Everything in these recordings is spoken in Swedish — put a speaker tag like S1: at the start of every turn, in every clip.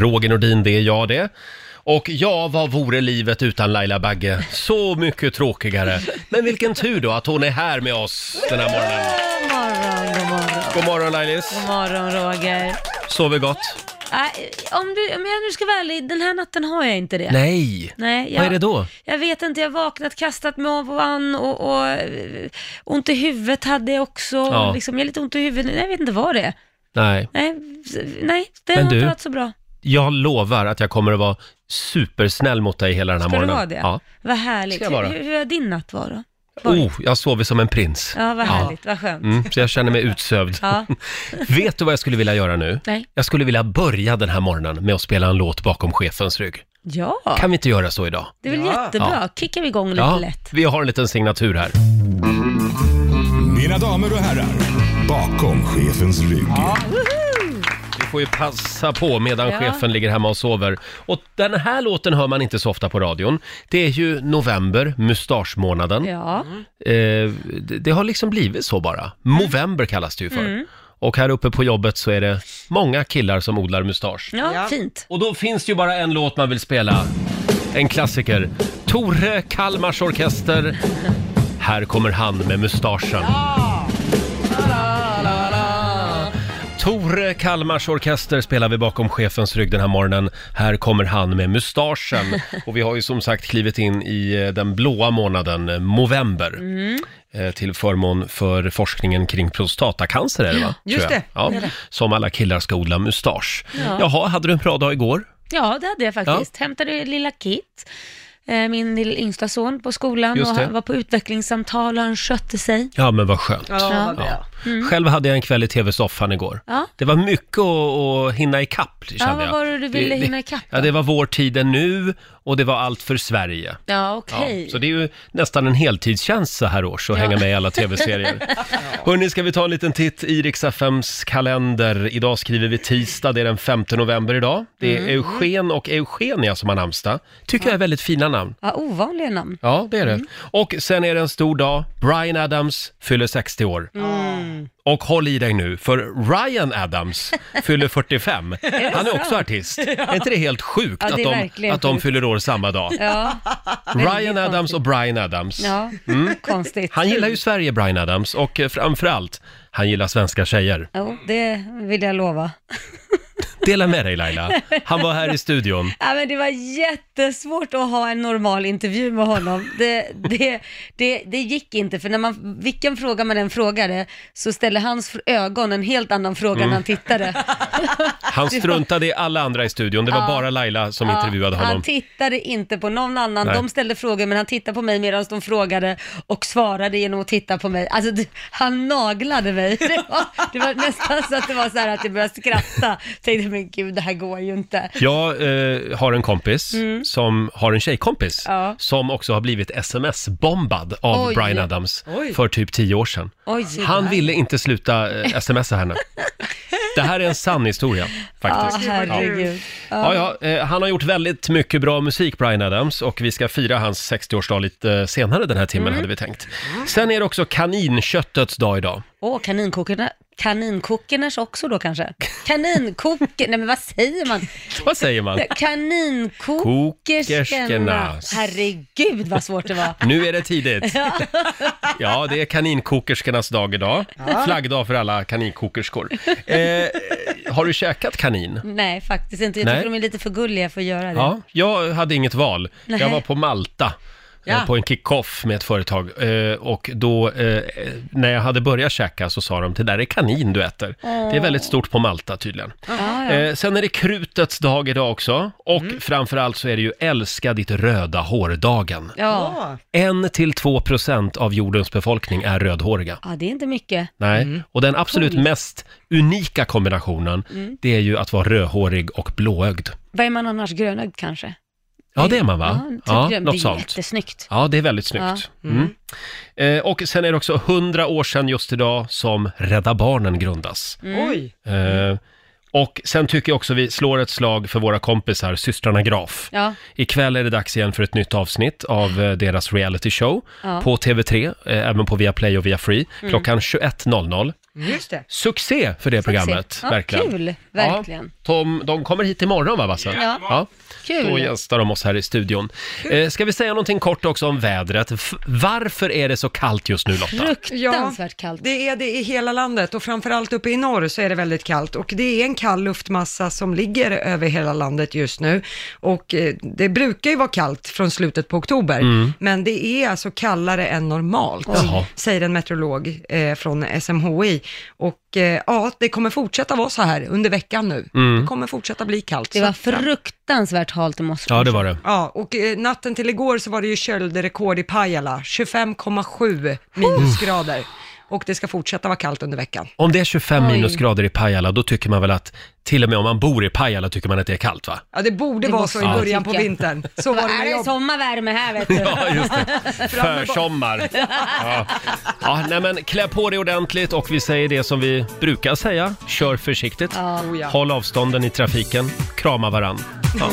S1: Roger Nordin, det är jag det. Och ja, vad vore livet utan Laila Bagge? Så mycket tråkigare. Men vilken tur då att hon är här med oss den här morgonen.
S2: God morgon, god morgon.
S1: God morgon Lailis,
S2: God morgon Roger.
S1: sover gott?
S2: Nej, om, du, om jag nu ska vara ärlig, den här natten har jag inte det.
S1: Nej!
S2: Nej, jag,
S1: Vad är det då?
S2: Jag vet inte, jag har vaknat, kastat mig ovan och, och eh, ont i huvudet hade jag också.
S1: Ja.
S2: Liksom, jag har lite ont i huvudet, nu. jag vet inte vad det är.
S1: Nej,
S2: Nej, s- nej det
S1: Men
S2: har
S1: du,
S2: inte varit så bra.
S1: jag lovar att jag kommer att vara supersnäll mot dig hela den här
S2: Ska det
S1: morgonen.
S2: vara det?
S1: Ja.
S2: Vad härligt.
S1: Ska jag vara.
S2: Hur, hur har din natt varit?
S1: Oh, jag sover som en prins.
S2: Ja, vad härligt, vad skönt.
S1: Mm, så jag känner mig utsövd.
S2: Ja.
S1: Vet du vad jag skulle vilja göra nu?
S2: Nej.
S1: Jag skulle vilja börja den här morgonen med att spela en låt bakom chefens rygg.
S2: Ja,
S1: Kan vi inte göra så idag?
S2: det är väl jättebra. Kickar vi igång lite lätt.
S1: vi har en liten signatur här.
S3: Mina damer och herrar, bakom chefens rygg.
S1: Vi får ju passa på medan
S2: Ja.
S1: chefen ligger hemma och sover. Och den här låten hör man inte så ofta på radion. Det är ju november, mustaschmånaden.
S2: Ja,
S1: Eh, det, det har liksom blivit så bara. Movember kallas det ju för.
S2: Mm.
S1: Och här uppe på jobbet så är det många killar som odlar mustasch.
S2: ja,
S4: Ja.
S2: fint.
S1: Och då finns det ju bara en låt man vill spela. En klassiker. Tore Kalmars Orkester. Här kommer han med mustaschen. Tore Kalmars Orkester spelar vi bakom chefens rygg den här morgonen. Här kommer han med mustaschen. Och vi har ju som sagt klivit in i eh, den blåa månaden, eh, november.
S4: Mm.
S1: Eh, Till förmån för forskningen kring prostatacancer är det va?
S4: Just
S1: Tror jag.
S4: det.
S1: Ja. Som alla killar ska odla mustasch. Jaha, hade du en bra dag igår?
S2: Ja, det hade jag faktiskt. Hämtade lilla Kit, eh, min lill- yngsta son, på skolan
S1: Just
S2: och
S1: det.
S2: han var på utvecklingssamtal och han skötte sig.
S1: Ja, men vad skönt.
S4: Ja, vad bra.
S1: Själv hade jag en kväll i tv-soffan igår.
S2: Mm. Ja.
S1: Det var mycket att, att hinna ikapp, kände
S2: vad
S1: jag.
S2: var det du ville
S1: det,
S2: hinna ikapp
S1: Ja, det var Vår tid är nu och det var Allt för Sverige.
S2: Ja,
S1: Ja,
S2: okej.
S1: Så det är ju nästan en heltidstjänst så här års att hänga med i alla tv-serier. Hörni, ska vi ta en liten titt i riks FMs kalender. Idag skriver vi tisdag, det är den 5 november idag. Det är
S2: Mm.
S1: Eugen och Eugenia som har namnsdag. Tycker jag är väldigt fina namn.
S2: Ja, ovanliga namn.
S1: Ja, det är det.
S2: Mm.
S1: Och sen är det en stor dag. Brian Adams fyller 60 år.
S2: Mm.
S1: Och håll i dig nu, för Ryan Adams fyller 45. Han är också artist. Är inte det helt sjukt
S2: Ja, det
S1: att,
S2: är
S1: de,
S2: verkligen
S1: att de
S2: sjukt.
S1: fyller år samma dag?
S2: Ja,
S1: Ryan
S2: konstigt.
S1: Adams och Brian Adams.
S2: ja. konstigt.
S1: Mm. Han gillar ju Sverige, Brian Adams, och eh, framförallt, han gillar svenska tjejer.
S2: Jo, det vill jag lova.
S1: Dela med dig Laila. Han var här i studion.
S2: Ja, men det var jättesvårt att ha en normal intervju med honom. Det, det, det, det gick inte, för när man, vilken fråga man än frågade så ställer hans fr- ögon en helt annan fråga
S1: Mm.
S2: när han tittade.
S1: Han struntade i alla andra i studion, det var bara Laila som intervjuade
S2: Han
S1: honom.
S2: tittade inte på någon annan.
S1: Nej.
S2: De ställde frågor men han tittade på mig medan de frågade och svarade genom att titta på mig. Alltså, det, han naglade mig. Det var, det var nästan så att det var så här att jag började skratta. Tänkte, men gud, det här går ju inte.
S1: Jag eh, har en kompis som har en tjejkompis
S2: Mm. Ja.
S1: som också har blivit sms-bombad av
S2: Oj.
S1: Brian Adams
S4: Oj.
S1: för typ tio år sedan.
S2: Oj,
S1: Han ville inte sluta eh, smsa henne. Det här är en sann historia
S2: ja,
S1: faktiskt.
S2: herregud.
S1: Ja, ja, eh, han har gjort väldigt mycket bra musik, Brian Adams, och vi ska fira hans 60-årsdag lite eh, senare den här timmen,
S2: Mm.
S1: hade vi tänkt. Sen är det också kaninköttets dag idag.
S2: Åh, kaninkokerna. Kaninkokernas också då kanske? Kaninkoker... Nej men vad säger man?
S1: Vad säger man?
S2: Kaninkokerskorna.
S1: Kokerskornas.
S2: Herregud vad svårt det var.
S1: Nu är det tidigt. Ja, det är kaninkokerskornas dag idag. Flaggdag för alla kaninkokerskor. Eh, har du käkat kanin?
S2: Nej, faktiskt inte. Jag
S1: Nej.
S2: tycker de är lite för gulliga för att göra det.
S1: Ja, jag hade inget val. Jag
S2: Nej.
S1: var på Malta. eh,
S4: Ja.
S1: på en kick-off med ett företag eh, och då eh, när jag hade börjat käka så sa de det där är kanin du äter. Det är väldigt stort på Malta tydligen.
S2: Ja, ja.
S1: Eh, sen är det krutets dag idag också och
S2: Mm.
S1: framförallt så är det ju älska ditt röda hår-dagen.
S2: ja.
S4: Ja.
S1: En till två procent av jordens befolkning är rödhåriga.
S2: Ja, det är inte mycket.
S1: Nej, och den absolut mest unika kombinationen, det är ju att vara rödhårig och blåögd.
S2: Vad är man annars? Grönögd kanske?
S1: Ja, det är man va?
S2: typ
S1: Ja,
S2: grön.
S1: något
S2: det är
S1: sånt.
S2: jättesnyggt.
S1: Ja, det är väldigt snyggt. Mm. Eh, och sen är det också hundra år sedan just idag som Rädda Barnen grundas.
S2: Mm.
S4: Oj.
S1: Eh, och sen tycker jag också vi slår ett slag för våra kompisar, systrarna Graf.
S2: Ja.
S1: Ikväll är det dags igen för ett nytt avsnitt av eh, deras reality show
S2: Ja. Mm.
S1: på TV3, eh, även på Viaplay och Viafree, klockan 21.00.
S4: Just det.
S1: Succé för det programmet,
S2: Ja,
S1: verkligen.
S2: kul, verkligen.
S1: Ja, de, de kommer hit imorgon va, Basse?
S2: Ja. Kul.
S1: Då gästar de oss här i studion. Eh, ska vi säga någonting kort också om vädret? F- varför är det så kallt just nu Lotta?
S2: Fruktansvärt kallt.
S4: Det är det i hela landet och framförallt uppe i norr så är det väldigt kallt och det är en kall luftmassa som ligger över hela landet just nu och eh, det brukar ju vara kallt från slutet på oktober men det är alltså kallare än normalt
S1: Jaha.
S4: säger en meteorolog eh, från SMHI och eh, ja, det kommer fortsätta vara så här under veckan nu. Det kommer fortsätta bli kallt.
S2: Det
S4: Så
S2: var
S4: att-
S2: fruktansvärt halt i morse.
S1: Ja, det var det.
S4: Ja, och eh, natten till igår så var det ju köldrekord i Pajala, 25,7 minusgrader. Och det ska fortsätta vara kallt under veckan.
S1: Om det är 25
S2: Oj.
S1: minusgrader i Pajala, då tycker man väl att till och med om man bor i Pajala tycker man att det är kallt va?
S4: Ja, det borde
S2: Det
S4: vara
S2: måste
S4: så i
S2: man
S4: början på
S2: tycka.
S4: vintern. Så var
S2: Vad
S4: det
S2: är
S4: när
S2: det
S4: jag...
S2: sommarvärme här vet du?
S1: Ja, just det. Försommar. Ja. Ja, nej men klä på dig ordentligt och vi säger det som vi brukar säga. Kör försiktigt.
S4: Oh, ja.
S1: Håll avstånden i trafiken. Krama varann. Ja.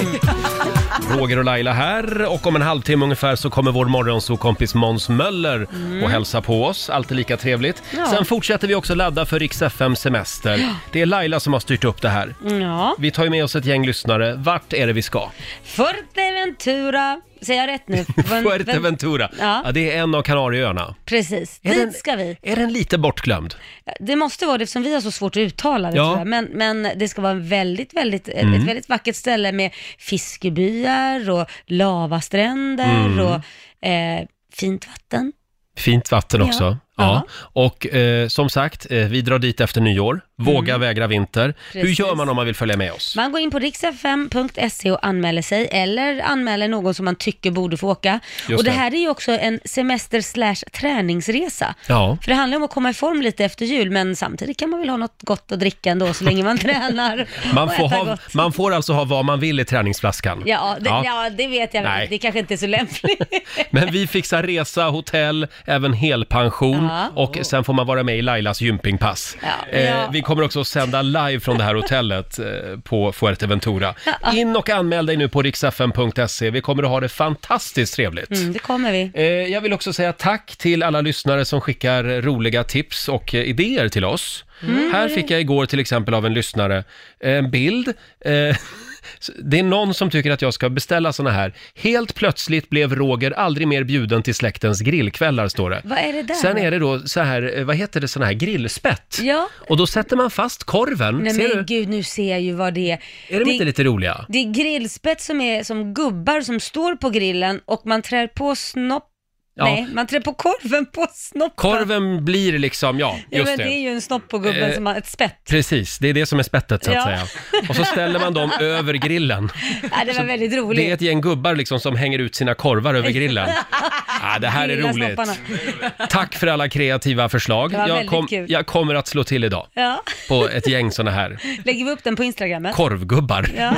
S1: Roger och Laila här och om en halvtimme ungefär så kommer vår morgonsokompis Måns Möller
S4: Mm.
S1: och hälsa på oss. Alltid lika trevligt.
S2: Ja.
S1: Sen fortsätter vi också ladda för Rix FM semester. Det är Laila som har styrt upp det här.
S2: Mm, Ja.
S1: Vi tar ju med oss ett gäng lyssnare. Vart är det vi ska?
S2: Fuerteventura, säger jag rätt nu? Ven- ven-
S1: Fuerteventura.
S2: Ja.
S1: Ja, det är en av Kanarieöarna.
S2: Precis,
S1: Är den-
S2: dit ska vi.
S1: Är den lite bortglömd?
S2: Det måste vara det eftersom vi har så svårt att uttala det
S1: Ja. Mm.
S2: tror jag. Men, men det ska vara en väldigt, väldigt, ett väldigt vackert ställe med fiskebyar och lavastränder
S1: Mm.
S2: och eh, fint vatten.
S1: Fint vatten också. Ja.
S2: Ja. Ja.
S1: Och eh, som sagt, eh, vi drar dit efter nyår. Våga vägra vinter. Hur
S2: Mm. Precis.
S1: gör man om man vill följa med oss?
S2: Man går in på riksfm.se och anmäler sig eller anmäler någon som man tycker borde få åka.
S1: Just
S2: och det
S1: det.
S2: här är ju också en semester slash träningsresa.
S1: Ja.
S2: För det handlar om att komma i form lite efter jul, men samtidigt kan man väl ha något gott att dricka ändå så länge man tränar.
S1: Man
S2: och
S1: får,
S2: äta
S1: ha,
S2: gott.
S1: man får alltså ha vad man vill i träningsflaskan.
S2: Ja, det,
S1: Ja.
S2: ja. det vet jag.
S1: Nej.
S2: väl. Det kanske inte är så lämpligt.
S1: Men vi fixar resa, hotell, även helpension
S2: Ja.
S1: och sen får man vara med i Lailas gympingpass.
S2: Ja.
S1: Eh,
S2: Ja.
S1: vi kommer också att sända live från det här hotellet eh, på Fuerteventura. In och anmäl dig nu på riksfn.se. Vi kommer att ha det fantastiskt trevligt.
S2: Mm, det kommer vi.
S1: Eh, Jag vill också säga tack till alla lyssnare som skickar roliga tips och eh, idéer till oss.
S2: Mm.
S1: Här fick jag igår till exempel av en lyssnare eh, en bild. Eh, s- Det är någon som tycker att jag ska beställa såna här. Helt plötsligt blev Roger aldrig mer bjuden till släktens grillkvällar, står det.
S2: Vad är det där?
S1: Sen är det då så här, eh, vad heter det, sån här grillspett.
S2: Ja.
S1: Och då sätter man fast korven.
S2: Nej
S1: Ser
S2: men
S1: du?
S2: gud, nu ser jag ju vad det är.
S1: Är de inte lite roliga?
S2: det är grillspett som är som gubbar som står på grillen och man trär på snopp...
S1: Ja.
S2: Nej, man trär på korven på snoppen.
S1: Korven blir liksom, ja, just
S2: ja, men det. är ju en snopp på gubben
S1: Eh,
S2: som har ett spett.
S1: Precis, det är det som är spettet så att
S2: Ja.
S1: säga. Och så ställer man dem över grillen.
S2: Ja, det var väldigt roligt.
S1: Det är ett gäng gubbar liksom som hänger ut sina korvar över grillen. Ah, det här är
S2: Grilla
S1: roligt.
S2: snopparna.
S1: Tack för alla kreativa förslag.
S2: Det var
S1: Jag,
S2: väldigt kul.
S1: jag kommer att slå till idag
S2: Ja.
S1: på ett gäng såna här
S2: Lägger vi upp den på Instagrammet?
S1: korvgubbar.
S2: Ja,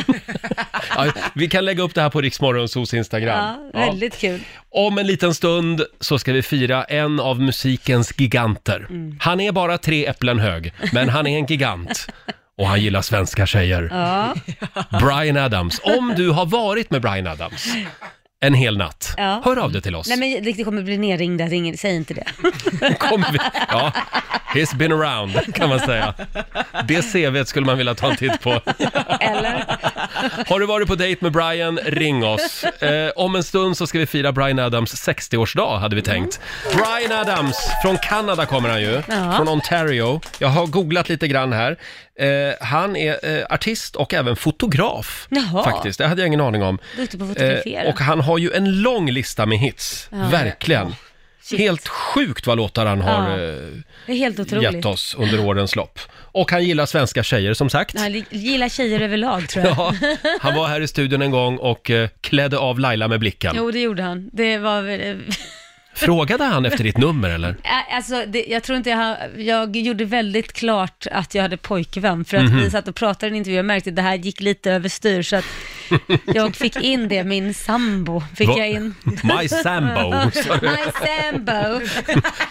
S1: Ja, vi kan lägga upp det här på Riksmorgonsos Instagram.
S2: ja,
S1: Ja.
S2: väldigt kul.
S1: Om en liten stund så ska vi fira en av musikens giganter.
S2: Mm.
S1: Han är bara tre äpplen hög, men han är en gigant. Och han gillar svenska tjejer.
S2: Ja,
S1: Brian Adams. Om du har varit med Brian Adams en hel natt,
S2: Ja.
S1: hör av dig till oss.
S2: nej men det kommer bli nerringda, det är ingen- säg inte det.
S1: Kommer vi... ja, he's been around kan man säga. Det CVet skulle man vilja ta en titt på.
S2: Eller?
S1: Har du varit på dejt med Brian, ring oss. Eh, om en stund så ska vi fira Brian Adams 60-årsdag, hade vi tänkt. Brian Adams, från Kanada kommer han ju,
S2: Ja.
S1: från Ontario. Jag har googlat lite grann här. Eh, han är eh, artist och även fotograf,
S2: Jaha.
S1: faktiskt. Det hade jag ingen aning om.
S2: Duktig på att fotografera.
S1: Eh, och han har ju en lång lista med hits, verkligen. Helt sjukt vad låtar han har
S2: Oh, Ja,
S1: eh,
S2: Det är helt otroligt.
S1: gett oss under årens lopp. Och han gillar svenska tjejer som sagt.
S2: Ja, li- gillar tjejer överlag tror jag.
S1: Ja, han var här i studion en gång och eh, klädde av Laila med blicken.
S2: Jo, det gjorde han. Det var väl...
S1: Frågade han efter ditt nummer eller?
S2: Ä- Alltså, det, jag tror inte jag, har- jag gjorde väldigt klart att jag hade pojkvän, för att
S1: Mhm.
S2: vi satt och pratade i en intervju och märkte att det här gick lite överstyr, så att jag fick in det, min sambo fick
S1: Va-
S2: jag in.
S1: My sambo. sa du.
S2: My sambo.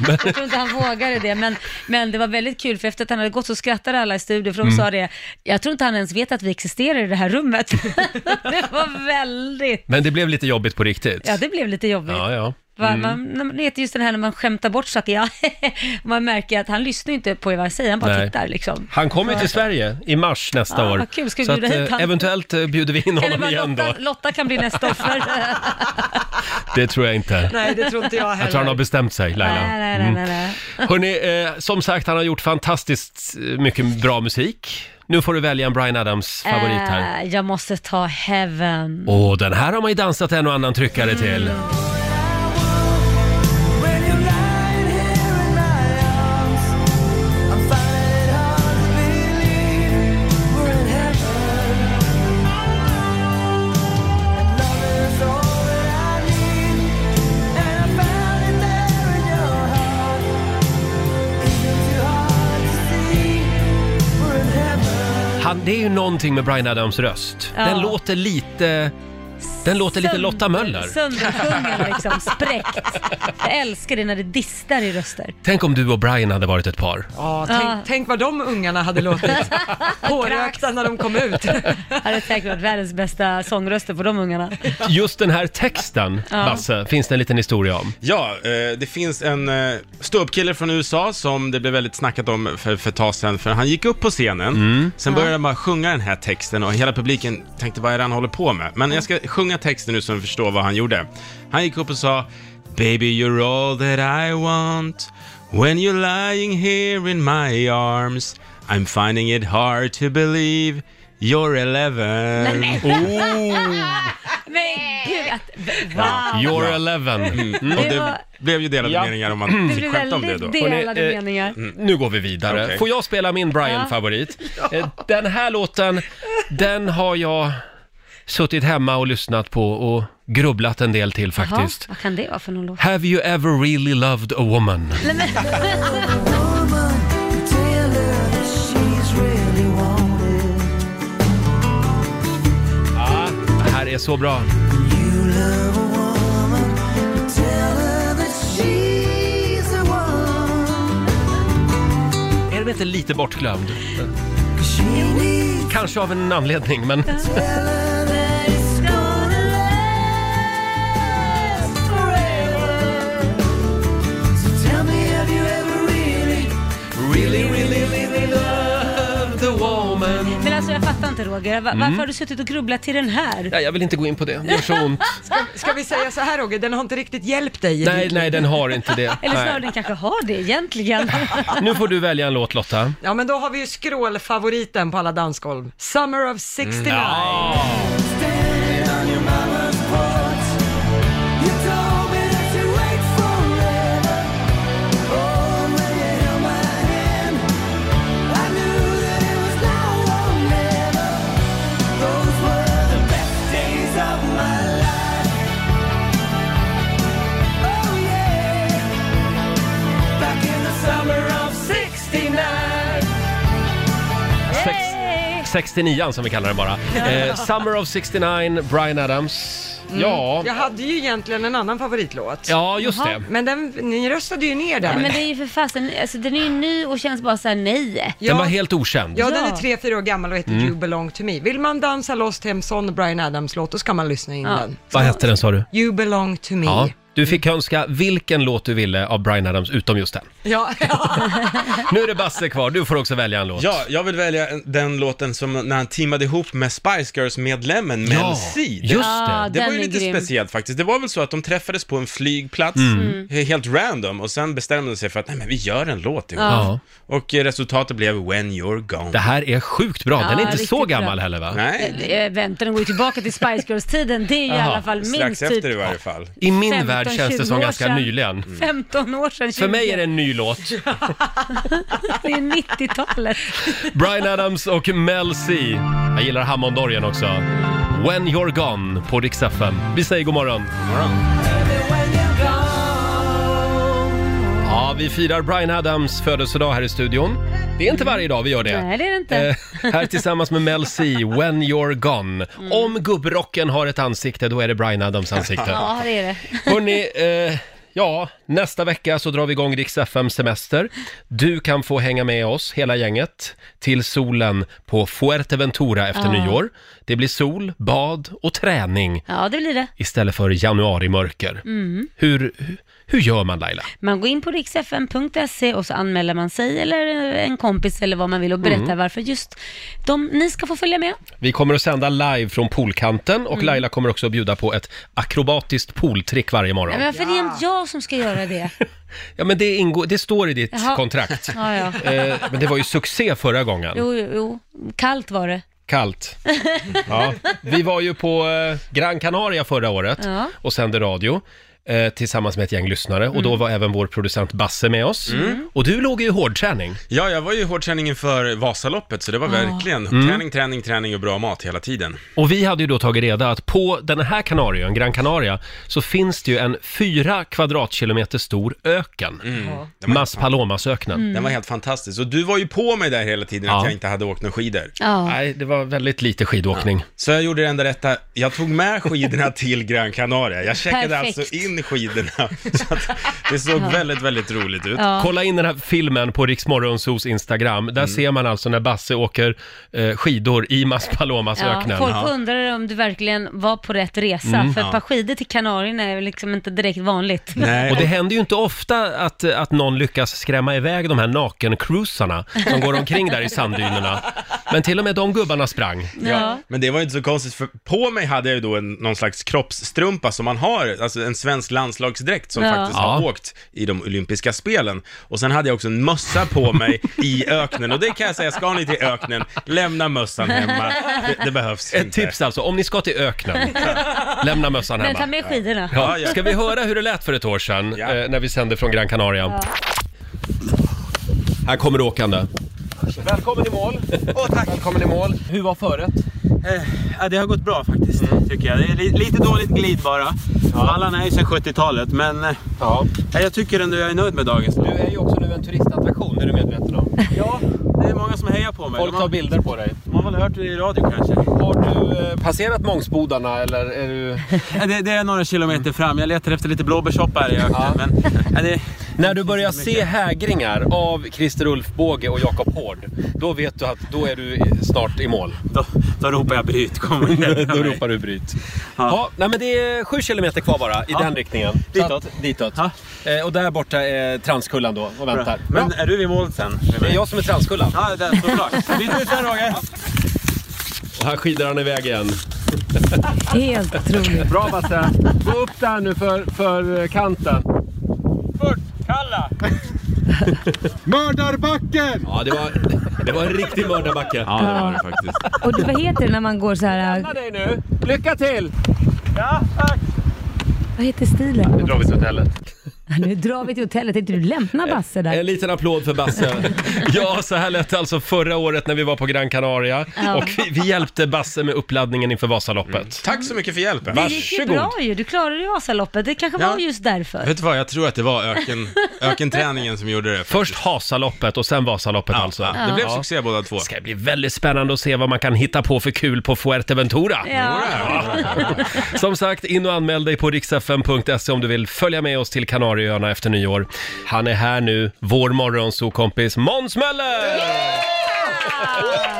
S2: Jag tror inte han vågade det, men, men det var väldigt kul, för efter att han hade gått så skrattade alla i studion, för
S1: Mm.
S2: de sa det, jag tror inte han ens vet att vi existerar i det här rummet. det var väldigt,
S1: Men det blev lite jobbigt på riktigt.
S2: ja det blev lite jobbigt.
S1: ja, mm. ja.
S2: Va? Man, när man- det heter just den här när man skämtar bort saker, ja. man märker att han lyssnar ju inte på vad jag säger, han bara
S1: Nej.
S2: tittar liksom.
S1: Han kommer ju till Sverige i mars nästa
S2: Ja,
S1: år.
S2: vad kul. Ska vi
S1: så att,
S2: bjuda hit
S1: eh,
S2: han?
S1: eventuellt eh, bjuder vi in
S2: Eller
S1: honom
S2: bara
S1: igen då.
S2: Lotta, Lotta kan bli nästa offer.
S1: Det tror jag inte.
S4: Nej, det tror inte jag heller.
S1: Jag tror han har bestämt sig, Laila.
S2: nej, nej, nej, nej, nej.
S1: Hörrni, eh, som sagt, han har gjort fantastiskt eh, mycket bra musik. Nu får du välja en Bryan Adams-favorit här.
S2: Eh, jag måste ta Heaven.
S1: Åh, den här har man ju dansat en och annan tryckare till. Han, det är ju någonting med Bryan Adams röst.
S2: Ja.
S1: Den låter lite... Den låter lite Lotta Möller.
S2: Söndersjungen liksom, spräckt. Jag älskar det när det distar i röster.
S1: Tänk om du och Bryan hade varit ett par.
S4: Ja, tänk,
S2: Ah.
S4: tänk vad de ungarna hade låtit. Hårökta när de kom ut.
S2: Hade säkert varit världens bästa sångröster på de ungarna.
S1: Just den här texten, Basse, finns det en liten historia om.
S5: Ja, eh, det finns en eh, ståuppkille från USA som det blev väldigt snackat om för, för ett tag sedan, för han gick upp på scenen, sen började han bara sjunga den här texten och hela publiken tänkte vad är det han håller på med? Men jag ska
S2: Mm.
S5: sjunga texten nu så ni förstår vad han gjorde. Han gick upp och sa Baby you're all that I want When you're lying here in my arms I'm finding it hard to believe You're 11
S2: Men gud, att, va?
S1: You're eleven.
S5: Mm. Och
S2: Det
S5: det
S2: var-
S5: blev ju delade
S1: Ja.
S5: meningar om man
S2: Det
S5: fick
S2: blir
S5: skämta om det då.
S2: väldigt
S1: Hörrni,
S2: delade
S1: eh,
S2: meningar.
S1: Nu går vi vidare.
S5: Okej.
S1: Får jag spela min Brian-favorit? Eh, Den här låten, den har jag suttit hemma och lyssnat på och grubblat en del till
S2: Jaha,
S1: faktiskt.
S2: vad kan det vara för någon låt?
S1: Have you ever really loved a woman? Ja, det här är så bra. Är den inte lite bortglömd? Kanske av en anledning, men... Really, really, really loved the woman
S2: Men alltså jag fattar inte Roger, Va- varför
S1: Mm.
S2: har du suttit och grubblat till den här?
S1: Nej, jag vill inte gå in på det. Det gör så ont.
S4: Ska vi säga så här Roger, den har inte riktigt hjälpt dig. i
S1: Nej,
S4: ditt liv.
S1: nej, den har inte det.
S2: Eller snarare
S1: Nej.
S2: den kanske har det egentligen.
S1: Nu får du välja en låt, Lotta.
S4: Ja, men då har vi ju skrålfavoriten på alla dansgolv. Summer of 69.
S1: Sex, 69 som vi kallar den bara. Eh, Summer of 69, Bryan Adams.
S2: Mm.
S1: Ja,
S4: Jag hade ju egentligen en annan favoritlåt.
S1: ja just det.
S4: Men den, ni röstade ju ner den.
S2: Men det är ju för fasen, alltså den är ju ny och känns bara såhär nej.
S1: Den var
S4: ja,
S1: helt Mm. okänd.
S4: ja,
S2: Ja.
S4: den är tre, fyra år gammal och heter You belong to me. Vill man dansa loss till en sån Bryan Adams-låt, då ska man lyssna in
S2: Ja.
S4: den.
S1: Vad hette den sa du?
S4: You belong to me.
S1: Ja, du fick önska vilken låt du ville av Bryan Adams, utom just den.
S4: Ja, ja.
S1: Nu är det Basse kvar, du får också välja en låt.
S5: Ja, jag vill välja en- den låten som när han teamade ihop med Spice Girls-medlemmen Mel C. Det,
S1: just
S2: Ja,
S1: det.
S5: det var
S2: den
S5: ju
S2: är
S5: lite
S2: grym.
S5: speciellt faktiskt. Det var väl så att de träffades på en flygplats, he- helt random, och sen bestämde de sig för att nej men vi gör en låt ihop.
S1: Ja.
S5: Och eh, resultatet blev When You're Gone.
S1: Det här är sjukt bra, den är
S2: Ja,
S1: inte så
S2: riktigt bra.
S1: gammal heller va?
S5: Nej,
S2: Eh, vänta, den går ju tillbaka till Spice Girls-tiden. Det är ju i
S1: Jaha,
S2: alla fall minst
S5: strax efter i
S2: typ
S5: varje fall.
S1: I min
S2: 15,
S1: värld känns det som
S2: 20 år
S1: ganska
S2: sedan.
S1: nyligen.
S2: 15 år sedan. 20.
S1: Mm. För mig är det en ny låt.
S2: Det är 90-talet.
S1: Bryan Adams och Mel C. Jag gillar hammondorgeln också. When You're Gone på Rix FM. Vi säger god morgon. Ja, vi firar Bryan Adams födelsedag här i studion. Det är inte varje dag vi gör det.
S2: Nej, det är det inte.
S1: Eh, här tillsammans med Mel C, When You're Gone.
S2: Mm.
S1: Om gubbrocken har ett ansikte, då är det Bryan Adams ansikte.
S2: Ja, det är det.
S1: Hörrni, eh, ja, Nästa vecka så drar vi igång Rix FM semester. Du kan få hänga med oss, hela gänget, till solen på Fuerteventura efter
S2: Ja.
S1: nyår. Det blir sol, bad och träning
S2: Ja, det blir det.
S1: istället för januarimörker.
S2: Mm.
S1: Hur, hur gör man Laila?
S2: Man går in på riksfn.se och så anmäler man sig eller en kompis eller vad man vill och berättar
S1: Mm.
S2: varför just de, ni ska få följa med.
S1: Vi kommer att sända live från poolkanten och
S2: Mm.
S1: Laila kommer också att bjuda på ett akrobatiskt pooltrick varje morgon.
S2: Men varför är det jämt jag som ska göra det?
S1: Ja, men det, ingår, det står i ditt
S2: Jaha.
S1: kontrakt.
S2: Ja, ja.
S1: Eh, men det var ju succé förra gången.
S2: Jo, jo, jo. Kallt var det.
S1: Kallt. Ja. Vi var ju på eh, Gran Canaria förra året
S2: Ja.
S1: och sände radio eh, tillsammans med ett gäng lyssnare och
S2: Mm.
S1: då var även vår producent Basse med oss.
S5: Mm.
S1: Och du låg ju i hårdträning.
S5: Ja, jag var ju i hårdträning inför Vasaloppet, så det var verkligen
S1: Mm.
S5: träning, träning, träning och bra mat hela tiden.
S1: Och vi hade ju då tagit reda att på den här Kanarien, Gran Canaria, så finns det ju en fyra kvadratkilometer stor öken. Mas Palomas-öknen.
S5: Mm. Den var helt fantastisk. Och du var ju på mig där hela tiden
S1: Ja.
S5: att jag inte hade åkt några skidor.
S2: Ja.
S1: Nej, det var väldigt lite skidåkning.
S5: Så jag gjorde det enda rätta, jag tog med skidorna till Gran Canaria. Jag checkade
S2: Perfekt.
S5: alltså in skidorna. Så att det såg
S2: Ja.
S5: väldigt, väldigt roligt ut.
S2: Ja. Mm.
S1: Kolla in den här filmen på Riksmorgonsos Instagram. Där ser man alltså när Basse åker eh, skidor i Mas
S2: Ja,
S1: Palomas-öknen.
S2: folk undrar om du verkligen var på rätt resa,
S1: Mm.
S2: för ett
S1: Ja.
S2: par skidor till Kanarierna är liksom inte direkt vanligt.
S1: Och det händer ju inte ofta att, att någon lyckas skrämma iväg de här nakencruisarna som går omkring där i sanddynerna. Men till och med de gubbarna sprang.
S2: Ja.
S5: Men det var ju inte så konstigt, för på mig hade jag ju då en, någon slags kroppsstrumpa som man har, alltså en svensk landslagsdräkt som
S1: Ja.
S5: faktiskt har
S1: Ja.
S5: åkt i de olympiska spelen. Och sen hade jag också en mössa på mig i öknen, och det kan jag säga, ska ni till öknen, lämna mössan hemma. Det, det behövs
S1: Ett
S5: inte.
S1: tips alltså, om ni ska till öknen, lämna mössan
S2: Men
S1: hemma.
S2: ta med skidorna.
S1: Ja, ska vi höra hur det lät för ett år sedan eh, när vi sände från Gran Canaria? Här kommer du åkande.
S6: Välkommen i mål. Åh, tack. Välkommen i mål. Hur var föret? Eh, det har gått bra faktiskt,
S5: Mm.
S6: tycker jag. Det är li- lite dåligt glid bara. Allan är ju sedan 70-talet, men eh, eh, jag tycker ändå jag är nöjd med dagens Du är ju också nu en turistattraktion, är du medveten om? ja, det är många som hejar på mig.
S1: Folk
S6: De
S1: tar
S6: har-
S1: bilder på dig. eh,
S6: De har väl hört det i radio kanske. Har du
S1: Passerat Mångsbodarna eller är du...
S6: det, det är några
S5: Mm.
S6: kilometer fram. Jag letar efter lite blåbärssoppa här i öknen, men... eh, det...
S1: När du börjar se hägringar av Christer Ulfbåge och Jakob Hård, då vet du att då är du snart i mål.
S6: Då, då ropar jag bryt, kom igen.
S1: Då ropar du bryt. Ja. nej men det är sju kilometer kvar bara i den riktningen. Ditåt. Att, ditåt. Eh, och där borta är Transkullan då och väntar.
S6: Men är du vid mål sen?
S1: Det är jag som är Transkullan.
S6: Ja, där, såklart. Vi ses sen Roger.
S1: Och här skidar han iväg igen.
S2: Helt otroligt.
S7: Bra Basse. Gå upp där nu för, för kanten.
S6: Kalla!
S7: Mördarbacken!
S1: Ja, det var, det var en riktig mördarbacke. Ja,
S8: det var det
S1: faktiskt.
S8: Och vad heter det när man går så här...
S7: dig nu. Lycka till!
S6: Ja, tack!
S8: Vad heter stilen?
S1: Nu drar vi till hotellet.
S8: Nu drar vi till hotellet. Tänkte du lämna Basse där?
S1: En liten applåd för Basse. Ja, så här lät det alltså förra året när vi var på Gran Canaria.
S2: Ja.
S1: Och vi, vi hjälpte Basse med uppladdningen inför Vasaloppet.
S5: Tack så mycket för hjälpen.
S2: Det gick ju bra ju, du klarade ju Vasaloppet. Det kanske var just därför.
S5: Vet du vad, jag tror att det var öken, ökenträningen som gjorde det.
S1: Först Hasaloppet och sen Vasaloppet alltså.
S5: det blev succé båda två.
S1: Det ska bli väldigt spännande att se vad man kan hitta på för kul på Fuerteventura.
S2: Ja.
S1: Som sagt, in och anmäl dig på riksfm.se om du vill följa med oss till Kanarieöarna efter nyår. Han är här nu, vår morgonsokompis Måns Möller! Jag-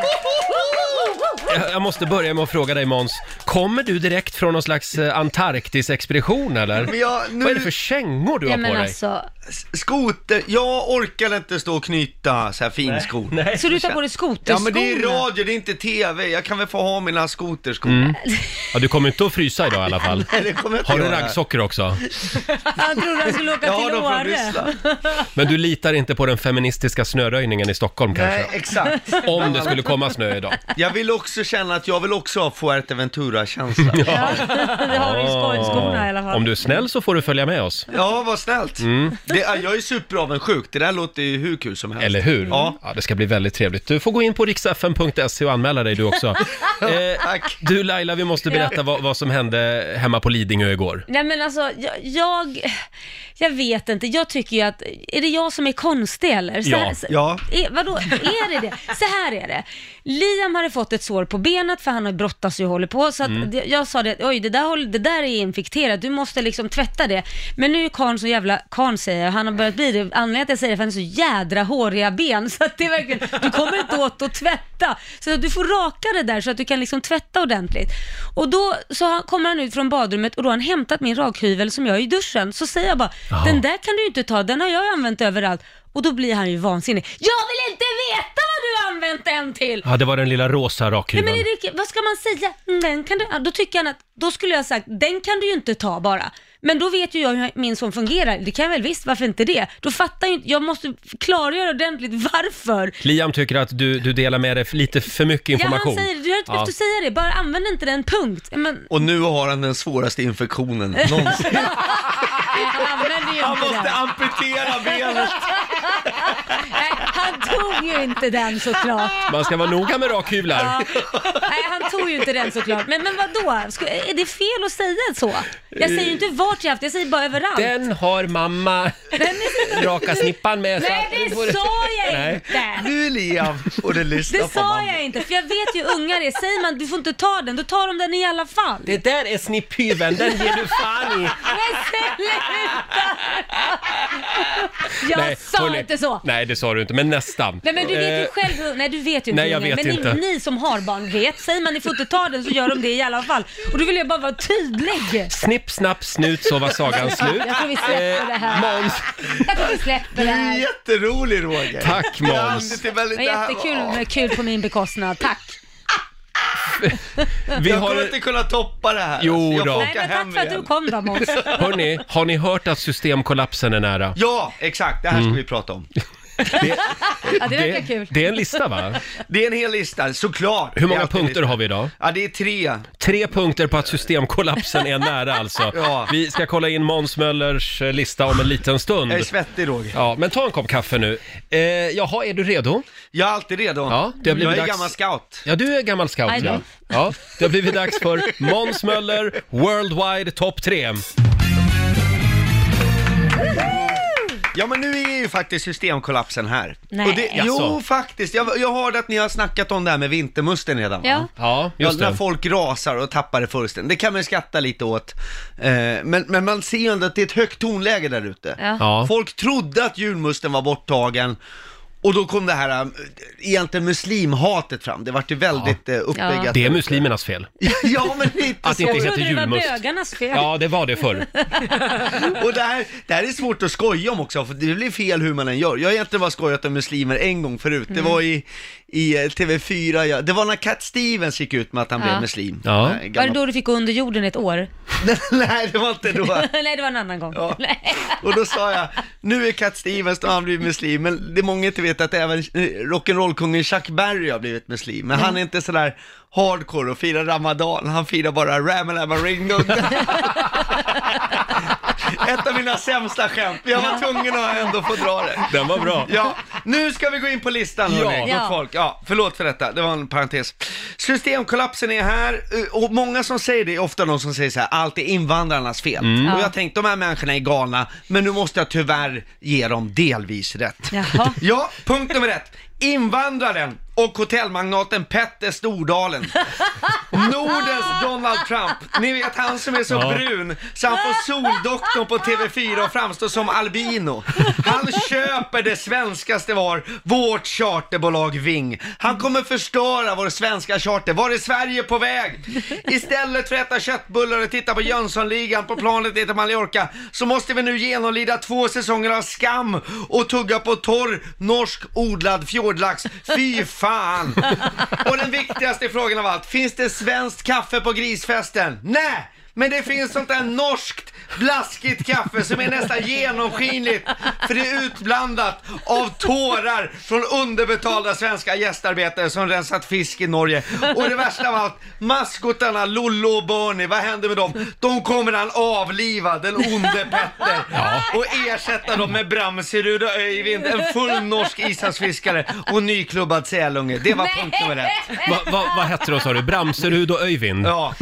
S1: Jag måste börja med att fråga dig Måns, kommer du direkt från någon slags eh, Antarktis-expedition eller?
S9: Men jag- nu-
S1: Vad är det för kängor du
S9: Ja,
S1: har
S9: men
S1: på dig?
S9: alltså- Skoter, jag orkar inte stå och knyta så här finskor.
S1: nej.
S2: Så du tar på dig skoterskorna?
S9: Ja men det är radio, det är inte TV. Jag kan väl få ha mina skoterskor.
S1: Mm. Ja, du kommer inte att frysa idag i alla fall.
S9: Nej, det kommer jag inte
S1: Har du
S9: göra.
S1: raggsockor också?
S2: Han trodde han skulle åka
S9: Jag har
S2: till
S9: dem från
S2: Åre.
S9: Ryssland.
S1: Men du litar inte på den feministiska snöröjningen i Stockholm kanske?
S9: Nej, exakt.
S1: Om det skulle komma snö idag.
S9: Jag vill också känna att jag vill också ha Fuerteventura-känsla.
S1: Ja.
S2: Det har du i skojskorna i alla fall.
S1: Om du är snäll så får du följa med oss.
S9: Ja, vad snällt.
S1: Mm.
S9: Det, jag är superavundsjuk, det där låter ju hur kul som helst.
S1: Eller hur?
S9: Ja.
S1: Ja, det ska bli väldigt trevligt. Du får gå in på riksfn.se och anmäla dig du också. Eh, du Laila, vi måste berätta
S2: Ja.
S1: vad, vad som hände hemma på Lidingö igår.
S2: Nej men alltså, jag, jag, jag vet inte. Jag tycker ju att, är det jag som är konstig eller? Så
S1: Ja.
S2: här- så-
S1: Ja.
S2: Är, vadå, är det det? Så här är det. Liam hade fått ett sår på benet för han har brottats ju och håller på. Så att
S10: Mm.
S2: det- jag sa det, oj det där, håller- det där är infekterat, du måste liksom tvätta det. Men nu är karln så jävla, karln säger jag, han har börjat bli det. Anledningen till att jag säger det är för han har så jädra håriga ben. Så att det är verkligen, du kommer inte åt att tvätta. Så att du får raka det där så att du kan liksom tvätta ordentligt. Och då så han- kommer han ut från badrummet och då har han hämtat min rakhyvel som jag har i duschen. Så säger jag bara,
S10: Jaha.
S2: den där kan du ju inte ta, den har jag ju använt överallt. Och då blir han ju vansinnig. Jag vill inte veta vad du har använt den till!
S1: Ja, det var den lilla rosa
S2: Nej
S1: rakhyveln.
S2: men Erik, vad ska man säga? Mm, Den kan du, ja, då tycker han att, då skulle jag ha sagt, den kan du ju inte ta bara. Men då vet ju jag hur min son fungerar, det kan jag väl visst, varför inte det? Då fattar ju inte, jag måste klargöra ordentligt varför.
S1: Liam tycker att du, du delar med dig lite för mycket information.
S2: Ja, han säger, du har inte behövt
S1: Ja.
S2: att säga det, bara använd inte den, punkt. Men,
S9: Och nu har han den svåraste infektionen någonsin.
S2: han använder ju
S9: Han
S2: inte
S9: måste
S2: den.
S9: amputera benet.
S2: Nej, han tog ju inte den såklart.
S1: Man ska vara noga med rakhyvlar.
S2: Ja. Nej, han tog ju inte den såklart. Men, men vadå? Ska, är det fel att säga så? Jag säger ju inte vart jag haft, jag säger bara överallt.
S1: Den har mamma raka snippan med. så
S2: Nej,
S1: att
S2: det
S1: du får-
S2: sa jag
S1: Nej.
S2: inte.
S9: Nu Liam får du lyssna
S2: Det
S9: på mamma.
S2: sa jag inte, för jag vet ju hur ungar är. Säger man du får inte ta den, då tar de den i alla fall.
S1: Det där är snipphyveln, den ger du fan i.
S2: Men sluta! Jag
S1: Nej,
S2: sa
S1: hörni.
S2: inte så.
S1: Nej, det sa du inte, men nästan.
S2: Nej men du vet ju
S1: Eh,
S2: själv, hur- nej du vet ju inte
S1: nej, jag
S2: hur ungar-
S1: vet
S2: Men
S1: inte.
S2: Ni, ni som har barn vet, säger man ni får inte ta den så gör de det i alla fall. Och då vill jag bara vara tydlig.
S1: Snipp, snapp, snut så var sagan slut.
S2: Jag tror vi
S1: Eh,
S2: släpper det här.
S1: Måns.
S2: Jag tror vi släpper
S9: Du
S2: det
S9: är
S2: här.
S9: jätterolig Roger.
S1: Tack, Måns.
S9: Det är väldigt-
S2: Men
S9: det här-
S2: jättekul med kul på min bekostnad, tack.
S1: Vi
S9: jag
S1: har-
S9: kommer inte kunna toppa det här.
S1: Jo
S9: alltså. jag
S1: då.
S9: får
S2: Nej
S9: åka
S2: men
S9: hem
S2: tack för att du
S9: igen.
S2: kom då Måns.
S1: Hörni, har ni hört att systemkollapsen är nära?
S9: Ja, exakt. Det här
S1: Mm.
S9: ska vi prata om.
S2: Ja, det verkar kul.
S1: det är en lista va?
S9: Det är en hel lista, såklart.
S1: Hur
S9: Det är
S1: många
S9: alltid en
S1: punkter
S9: lista.
S1: har vi idag?
S9: Ja, det är tre.
S1: Tre punkter på att systemkollapsen är nära alltså.
S9: Ja.
S1: Vi ska kolla in Måns Möllers eh, lista om en liten stund.
S9: Jag är svettig Roger.
S1: Ja, men ta en kopp kaffe nu. Eh, jaha, är du redo?
S9: Jag är alltid redo.
S1: Ja, det har blivit
S9: jag är
S1: dags.
S9: gammal scout.
S1: Ja, du är gammal scout
S2: Aj då.
S1: ja. ja. Det har blivit dags för Måns Möller Worldwide Top 3.
S9: Ja, men nu är ju faktiskt systemkollapsen här.
S2: Nej.
S9: Och det,
S1: Jaså?
S9: jo, faktiskt. Jag, jag hörde att ni har snackat om det här med vintermusten redan va?
S2: Ja.
S1: Ja,
S9: Ja,
S1: just
S9: när
S1: det.
S9: folk rasar och tappar det fullständigt. Det kan man ju skratta lite åt. Eh, men, men man ser ju ändå att det är ett högt tonläge där ute.
S2: Ja.
S1: Ja.
S9: Folk trodde att julmusten var borttagen. Och då kom det här, eh, egentligen muslimhatet fram. Det vart ju väldigt ja.
S2: Ja.
S9: uppbyggat.
S1: Det är muslimernas fel.
S9: Ja, men lite
S1: Att det inte
S2: Jag
S1: heter
S2: trodde det var
S1: julmust.
S2: bögarnas fel.
S1: Ja, det var det förr.
S9: Och det här, det här är svårt att skoja om också, för det blir fel hur man än gör. Jag har egentligen bara skojat om muslimer en gång förut. Det var i, i eh, TV4, ja. det var när Cat Stevens gick ut med att han
S2: Ja.
S9: blev muslim.
S1: Ja.
S9: Eh,
S2: Var det
S9: gammal-
S2: då du fick gå under jorden i ett år?
S9: Nej, det var inte då.
S2: Nej, det var en annan gång.
S9: Ja.
S2: Nej.
S9: Och då sa jag, nu är Cat Stevens, då har han blivit muslim, men det många inte vet att även eh, rock'n'roll-kungen Chuck Berry har blivit muslim, men han är inte sådär hardcore och firar ramadan, han firar bara ramalama ringo. Ett av mina sämsta skämt, men jag var tvungen att ändå få dra det.
S1: Den var bra.
S9: Ja, nu ska vi gå in på listan
S1: Ja.
S9: hörni, gott
S2: Ja.
S9: folk. Ja, förlåt för detta, det var en parentes. Systemkollapsen är här eh, och många som säger det är ofta de som säger så här, allt är invandrarnas fel.
S2: Mm.
S9: Och jag tänkte de här människorna är galna, men nu måste jag tyvärr ge dem delvis rätt.
S2: Jaha.
S9: Ja, punkt nummer ett. Invandraren och hotellmagnaten Petter Stordalen. Nordens Donald Trump. Ni vet han som är så
S1: Ja.
S9: brun så han får soldoktorn på TV4 och framstår som albino. Han köper det svenskaste var, vårt charterbolag Ving. Han kommer förstöra vår svenska charter. Var är Sverige på väg? Istället för att äta köttbullar och titta på Jönssonligan på planet ner till Mallorca så måste vi nu genomlida två säsonger av skam och tugga på torr norsk odlad fjordlax. Fy fan! Och den viktigaste frågan av allt, finns det svenskt kaffe på grisfesten? Nej! Men det finns sånt där norskt blaskigt kaffe som är nästan genomskinligt för det är utblandat av tårar från underbetalda svenska gästarbetare som rensat fisk i Norge. Och det värsta av allt, maskotarna Lollo och Bernie, vad händer med dem? De kommer han avliva, den onde Petter, och ersätta dem med Bramserud och Öyvind, en full norsk ishavsfiskare och nyklubbad sälunge. Det var punkt nummer ett.
S1: Va, va, vad hette de sa du? Bramserud och Öyvind?
S9: Ja.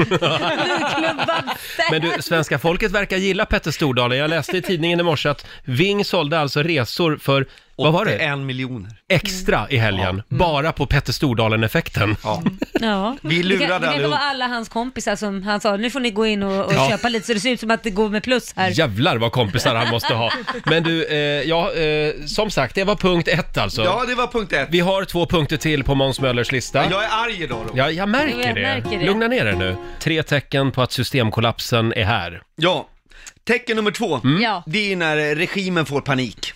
S2: Klubban.
S1: Men du, svenska folket verkar gilla Petter Stordalen. Jag läste i tidningen i morse att Ving sålde alltså resor för Vad var det?
S9: 81 miljoner.
S1: Extra i helgen, bara på Petter Stordalen-effekten.
S2: Ja.
S9: Vi
S2: det, kan-
S9: lurade
S2: det kanske var
S9: allihop.
S2: alla hans kompisar som han sa, nu får ni gå in och, och
S1: Ja.
S2: köpa lite så det ser ut som att det går med plus här.
S1: Jävlar vad kompisar han måste ha. Men du, eh, ja, eh, som sagt, det var punkt ett alltså.
S9: Ja, det var punkt ett.
S1: Vi har två punkter till på Måns Möllers lista.
S9: Jag är arg idag då.
S1: Ja, jag märker,
S2: Jo, jag
S1: det.
S2: märker det.
S1: Lugna ner er nu. Tre tecken på att systemkollapsen är här.
S9: Ja. Tecken nummer två,
S1: Mm.
S2: Ja.
S9: det är när eh, regimen får panik.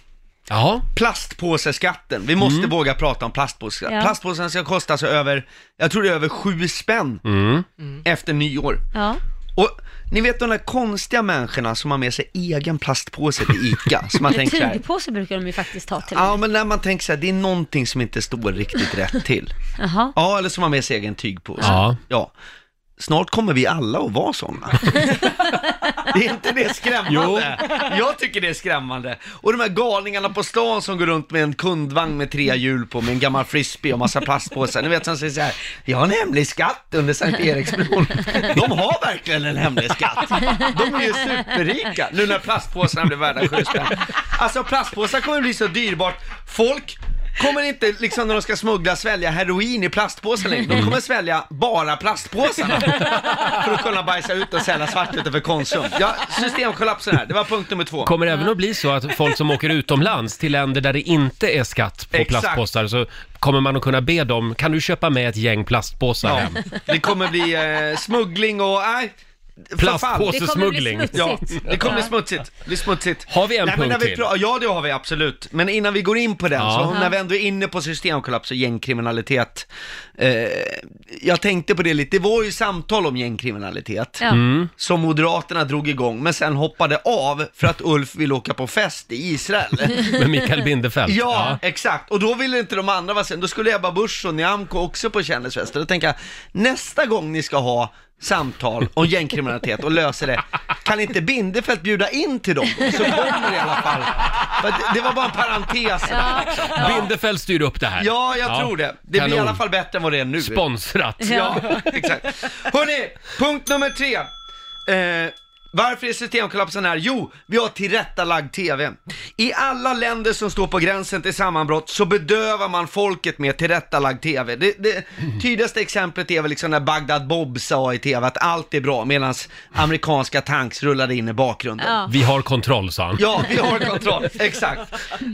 S1: Jaha,
S9: Plastpåseskatten, vi
S1: Mm.
S9: måste våga prata om plastpåsen.
S2: Ja.
S9: Plastpåsen ska kosta alltså över, jag tror det är över sju spänn
S1: Mm.
S9: efter nyår.
S2: Ja.
S9: Och ni vet de där konstiga människorna som har med sig egen plastpåse till ICA, som man
S2: Eller
S9: tänker så här,
S2: tygpåse brukar de ju faktiskt ha till och med.
S9: ja men när man tänker så här, det är någonting som inte står riktigt rätt till.
S2: Jaha.
S9: Ja, eller som har med sig egen tygpåse.
S1: Ja.
S9: ja. Snart kommer vi alla att vara sådana. det är inte det skrämmande? Jag tycker det är skrämmande. Och de här galningarna på stan som går runt med en kundvagn med tre hjul på, med en gammal frisbee och massa plastpåsar. Ni vet som säger så här, vi har en hemlig skatt under Sankt Eriksbron. De har verkligen en hemlig skatt. De är ju superrika, nu när plastpåsarna blir värda sju spänn. Alltså plastpåsar kommer bli så dyrbart. Folk kommer inte, liksom när de ska smuggla, svälja heroin i plastpåsen längre. De kommer svälja bara plastpåsarna. För att kunna bajsa ut och sälja svart utanför Konsum. Ja, systemkollapsen här, det var punkt nummer två.
S1: kommer det även att bli så att folk som åker utomlands till länder där det inte är skatt på
S9: Exakt.
S1: plastpåsar så kommer man att kunna be dem, kan du köpa med ett gäng plastpåsar
S9: Ja,
S1: hem?
S9: det kommer bli eh, smuggling och, nej, förfall.
S2: Det
S1: Plastpåse-
S2: kommer bli
S1: smuggling.
S2: smutsigt.
S9: Ja, det kommer bli smutsigt. Det blir smutsigt.
S1: Har vi en
S9: men när
S1: punkt
S9: vi
S1: till?
S9: pra- Ja, det har vi absolut. Men innan vi går in på den,
S1: Ja.
S9: så när vi ändå är inne på systemkollaps och gängkriminalitet. Eh, jag tänkte på det lite, det var ju samtal om gängkriminalitet.
S2: Ja.
S9: som Moderaterna drog igång, men sen hoppade av för att Ulf vill åka på fest i Israel.
S1: Med Mikael Bindefeldt?
S9: Ja, exakt. Och då ville inte de andra vara sen. Då skulle Ebba Busch och Nyamko också på kändisfester. Då tänker jag, nästa gång ni ska ha samtal om gängkriminalitet och löser det, kan inte Bindefeldt bjuda in till dem? Så kommer det i alla fall. För att det- Det var bara en parentes. Ja,
S1: Ja. Bindefeldt styr upp det här.
S9: ja jag tror det. Det blir i
S1: kanon.
S9: alla fall bättre än vad det är nu.
S1: Sponsrat.
S9: Ja, exakt. Hörrni, punkt nummer tre. Eh, varför är systemkollapsen här? Jo, vi har tillrättalagd TV. I alla länder som står på gränsen till sammanbrott så bedövar man folket med tillrättalagd TV. Det, det tydligaste exemplet är väl liksom när Bagdad Bob sa i TV att allt är bra medan amerikanska tanks rullade in i bakgrunden.
S2: Ja.
S1: Vi har kontroll, sa han.
S9: Ja, vi har kontroll. Exakt.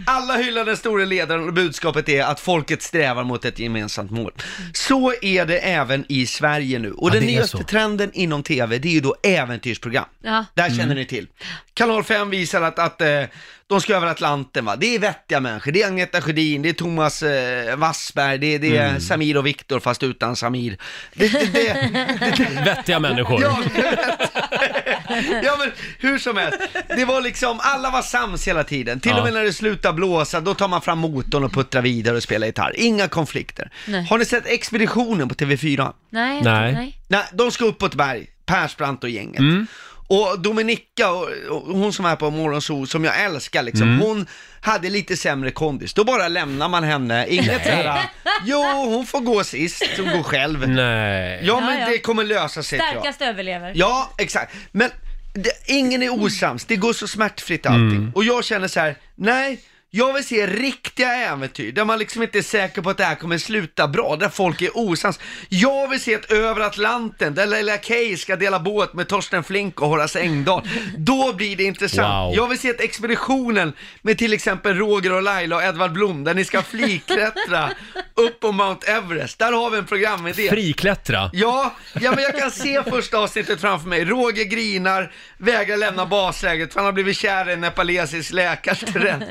S9: Alla hyllar den store ledaren och budskapet är att folket strävar mot ett gemensamt mål. Så är det även i Sverige nu. Och
S1: Ja,
S9: den
S1: det är
S9: nyaste
S1: så.
S9: trenden inom TV, det är ju då äventyrsprogram.
S2: Ja.
S9: Där känner
S1: Mm.
S9: ni till. Kanal 5 visar att, att eh, de ska över Atlanten va. Det är vettiga människor. Det är Agneta Sjödin, det är Thomas eh, Wassberg, det, det är
S1: Mm.
S9: Samir och Viktor fast utan Samir. Det, det, det,
S1: Vettiga människor.
S9: Ja, jag vet. ja, men hur som helst. Det var liksom, alla var sams hela tiden. Till
S1: Ja.
S9: och med när det slutar blåsa, då tar man fram motorn och puttrar vidare och spelar gitarr. Inga konflikter.
S2: Nej.
S9: Har ni sett Expeditionen på TV4?
S2: Nej,
S1: Nej.
S2: nej.
S9: Nej, de ska upp på ett berg, Persbrandt och gänget.
S1: Mm.
S9: Och Dominika, och, och hon som är på Morgonzoo, som jag älskar liksom,
S1: Mm.
S9: hon hade lite sämre kondis. Då bara lämnar man henne, inget såhär, jo hon får gå sist, hon går själv.
S1: Nej.
S9: Ja men
S2: Ja, ja.
S9: det kommer lösa sig tror jag.
S2: Starkast överlever.
S9: Ja, exakt. Men det, ingen är osams, det går så smärtfritt allting. Och jag känner så här: nej, jag vill se riktiga äventyr där man liksom inte är säker på att det här kommer sluta bra, där folk är osams. Jag vill se ett över Atlanten där Leila Kay ska dela båt med Torsten Flink och Horace Engdahl. Då blir det intressant.
S1: Wow.
S9: Jag vill se ett expeditionen med till exempel Roger och Laila och Edvard Blom där ni ska fliklättra upp på Mount Everest. Där har vi en programidé.
S1: Friklättra.
S9: Ja, ja, men jag kan se första avsnittet framför mig. Roger grinar, vägrar lämna baslägret för han har blivit kär i en nepalesisk läkarstudent.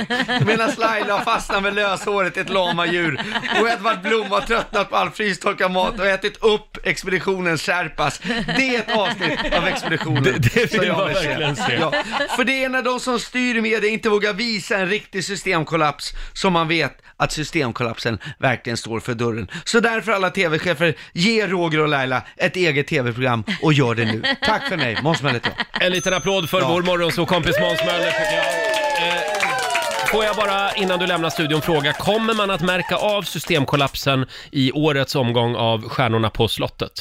S9: Medan Laila har fastnat med löshåret i ett lamadjur. Och Edvard Blom har tröttnat på all frystorkad mat och ätit upp expeditionens sherpas. Det är ett avsnitt av expeditionen.
S1: Det- det vill
S9: som
S1: man
S9: se.
S1: verkligen se.
S9: Ja, för det är när de som styr media inte vågar visa en riktig systemkollaps som man vet att systemkollapsen verkligen står för dörren. Så därför alla tv-chefer, ge Roger och Laila ett eget tv-program och gör det nu. Tack för mig, Måns Möller heter jag.
S1: En liten applåd för
S9: Ja.
S1: vår morgonsåkompis Måns Möller tycker jag. Eh, Får jag bara innan du lämnar studion fråga, kommer man att märka av systemkollapsen i årets omgång av Stjärnorna på slottet?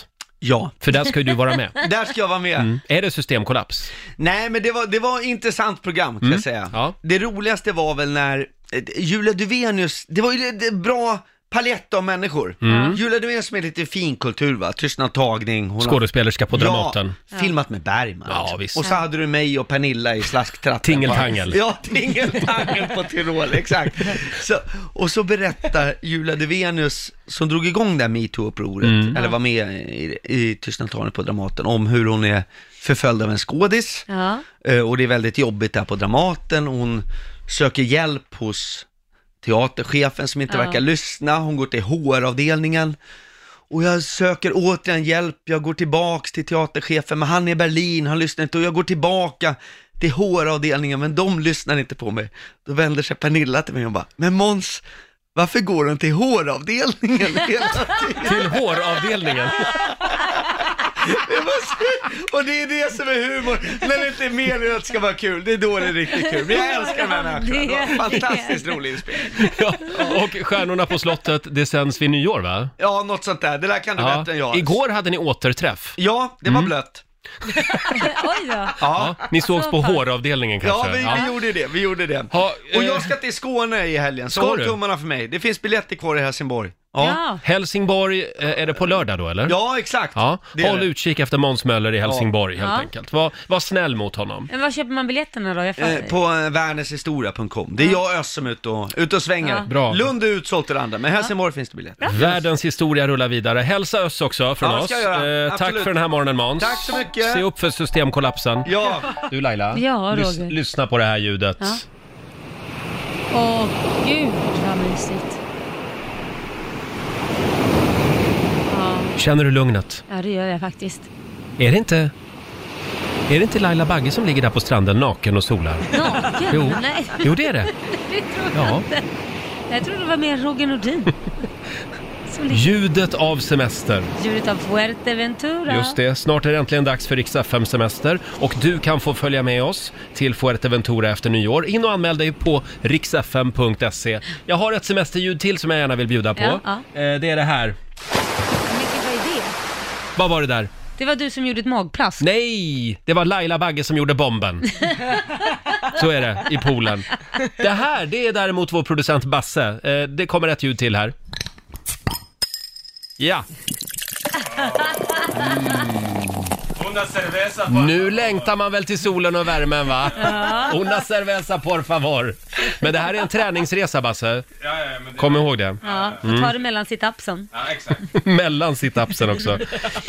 S9: Ja.
S1: För där ska ju du vara med.
S9: Där ska jag vara med.
S1: Mm. Är det systemkollaps?
S9: Nej, men det var, det var ett intressant program, kan jag säga.
S1: Mm. Ja.
S9: Det roligaste var väl när eh, Julia Duvenius, det var ju det- det bra palett av människor.
S1: Mm.
S9: Julia Duvenius som är lite finkultur va, Tystnad tagning. hon har-
S1: Skådespelerska på Dramaten.
S9: Ja, filmat med Bergman.
S1: Ja, visst.
S9: Och så hade du mig och Pernilla i slasktratten.
S1: Tingeltangel.
S9: Ja, tingeltangel på Tyrol, exakt. Så, och så berättar Julia Duvenius, som drog igång det här metoo-upproret,
S1: Mm.
S9: eller var med i, i Tystnad tagning på Dramaten, om hur hon är förföljd av en skådis.
S2: Ja.
S9: Eh, Och det är väldigt jobbigt där på Dramaten. Hon söker hjälp hos teaterchefen som inte
S2: Ja.
S9: verkar lyssna. Hon går till HR-avdelningen. Och jag söker återigen hjälp. Jag går tillbaks till teaterchefen, men han är i Berlin, han lyssnar inte. Och jag går tillbaka till HR-avdelningen, men de lyssnar inte på mig. Då vänder sig Pernilla till mig och bara, men Måns, varför går hon till HR-avdelningen hela tiden?
S1: Till håravdelningen.
S9: Det var så- Och det är det som är humor, när det inte är meningen att det ska vara kul, det är då det är riktigt kul. Men jag älskar de här människorna, det var en fantastiskt rolig inspelning.
S1: Ja. Och Stjärnorna på slottet, det sänds vid nyår va?
S9: Ja, något sånt där, det där kan du bättre än jag.
S1: Igår Mm. hade ni återträff.
S9: Ja, det var blött.
S2: Oj då.
S9: Ja,
S1: Ni sågs
S2: Så
S1: på
S2: pass.
S1: håravdelningen
S9: ja
S1: kanske?
S9: vi, vi gjorde det, vi gjorde det.
S1: Ja,
S9: Och
S1: eh,
S9: jag ska till Skåne i helgen, så
S1: Ska
S9: håll
S1: du?
S9: tummarna för mig. Det finns biljetter kvar i Helsingborg. Ja,
S2: Ja.
S1: Helsingborg, eh, är det på lördag då eller?
S9: ja exakt.
S1: Ja,
S9: Det är
S1: håll
S9: det.
S1: utkik efter Måns Möller i Helsingborg helt
S2: Ja.
S1: enkelt. Var, var snäll mot honom.
S2: Men var köper man biljetterna då? Jag
S9: Eh,
S2: fattar.
S9: På eh, wernershistoria.com. Det är jag och Özz som är ute och, ute och svänger.
S2: Ja.
S1: Bra.
S9: Lund är utsålt till det andra, men Helsingborg finns det biljetter.
S1: Världens historia rullar vidare. Hälsa oss också från
S9: Ja,
S1: oss. Eh,
S9: ska jag göra.
S1: tack
S9: Absolut.
S1: för den här morgonen Måns.
S9: Tack så mycket.
S1: Se upp för systemkollapsen.
S9: Ja,
S1: Du Laila,
S2: Ja, Roger.
S1: lys- lyssna på det här ljudet.
S2: Ja. Åh, gud vad mysigt. Ja,
S1: Känner du lugnet?
S2: ja, det gör jag faktiskt.
S1: Är det inte... Är det inte Laila Bagge som ligger där på stranden naken och solar?
S2: Naken?
S1: Jo.
S2: Nej,
S1: Jo, det är det.
S2: det tror jag
S1: Ja.
S2: inte. Jag tror det var mer Roger Nordin. Som ligger
S1: Ljudet av semester.
S2: djuret av Fuerteventura.
S1: Just det, snart är det äntligen dags för riks fm semester och du kan få följa med oss till Fuerteventura efter nyår. In och anmäl dig på riksfm.se. Jag har ett semesterljud till som jag gärna vill bjuda på.
S2: Ja, ja.
S1: Eh, Det är det här.
S2: Vilken var det?
S1: Vad var det där?
S2: Det var du som gjorde ett magplask.
S1: Nej, det var Laila Bagge som gjorde bomben. Så är det i poolen. Det här, det är däremot vår producent Basse. Eh, Det kommer ett ljud till här. Ja,
S6: Una cerveza.
S1: nu längtar man väl till solen och värmen va? Una cerveza por favor. Men det här är en träningsresa Basse.
S6: Ja, ja, men det...
S1: Kom ihåg det.
S2: Ja, får
S1: Mm.
S2: ta det mellan situpsen.
S6: Ja, exakt.
S1: Mellan situpsen också.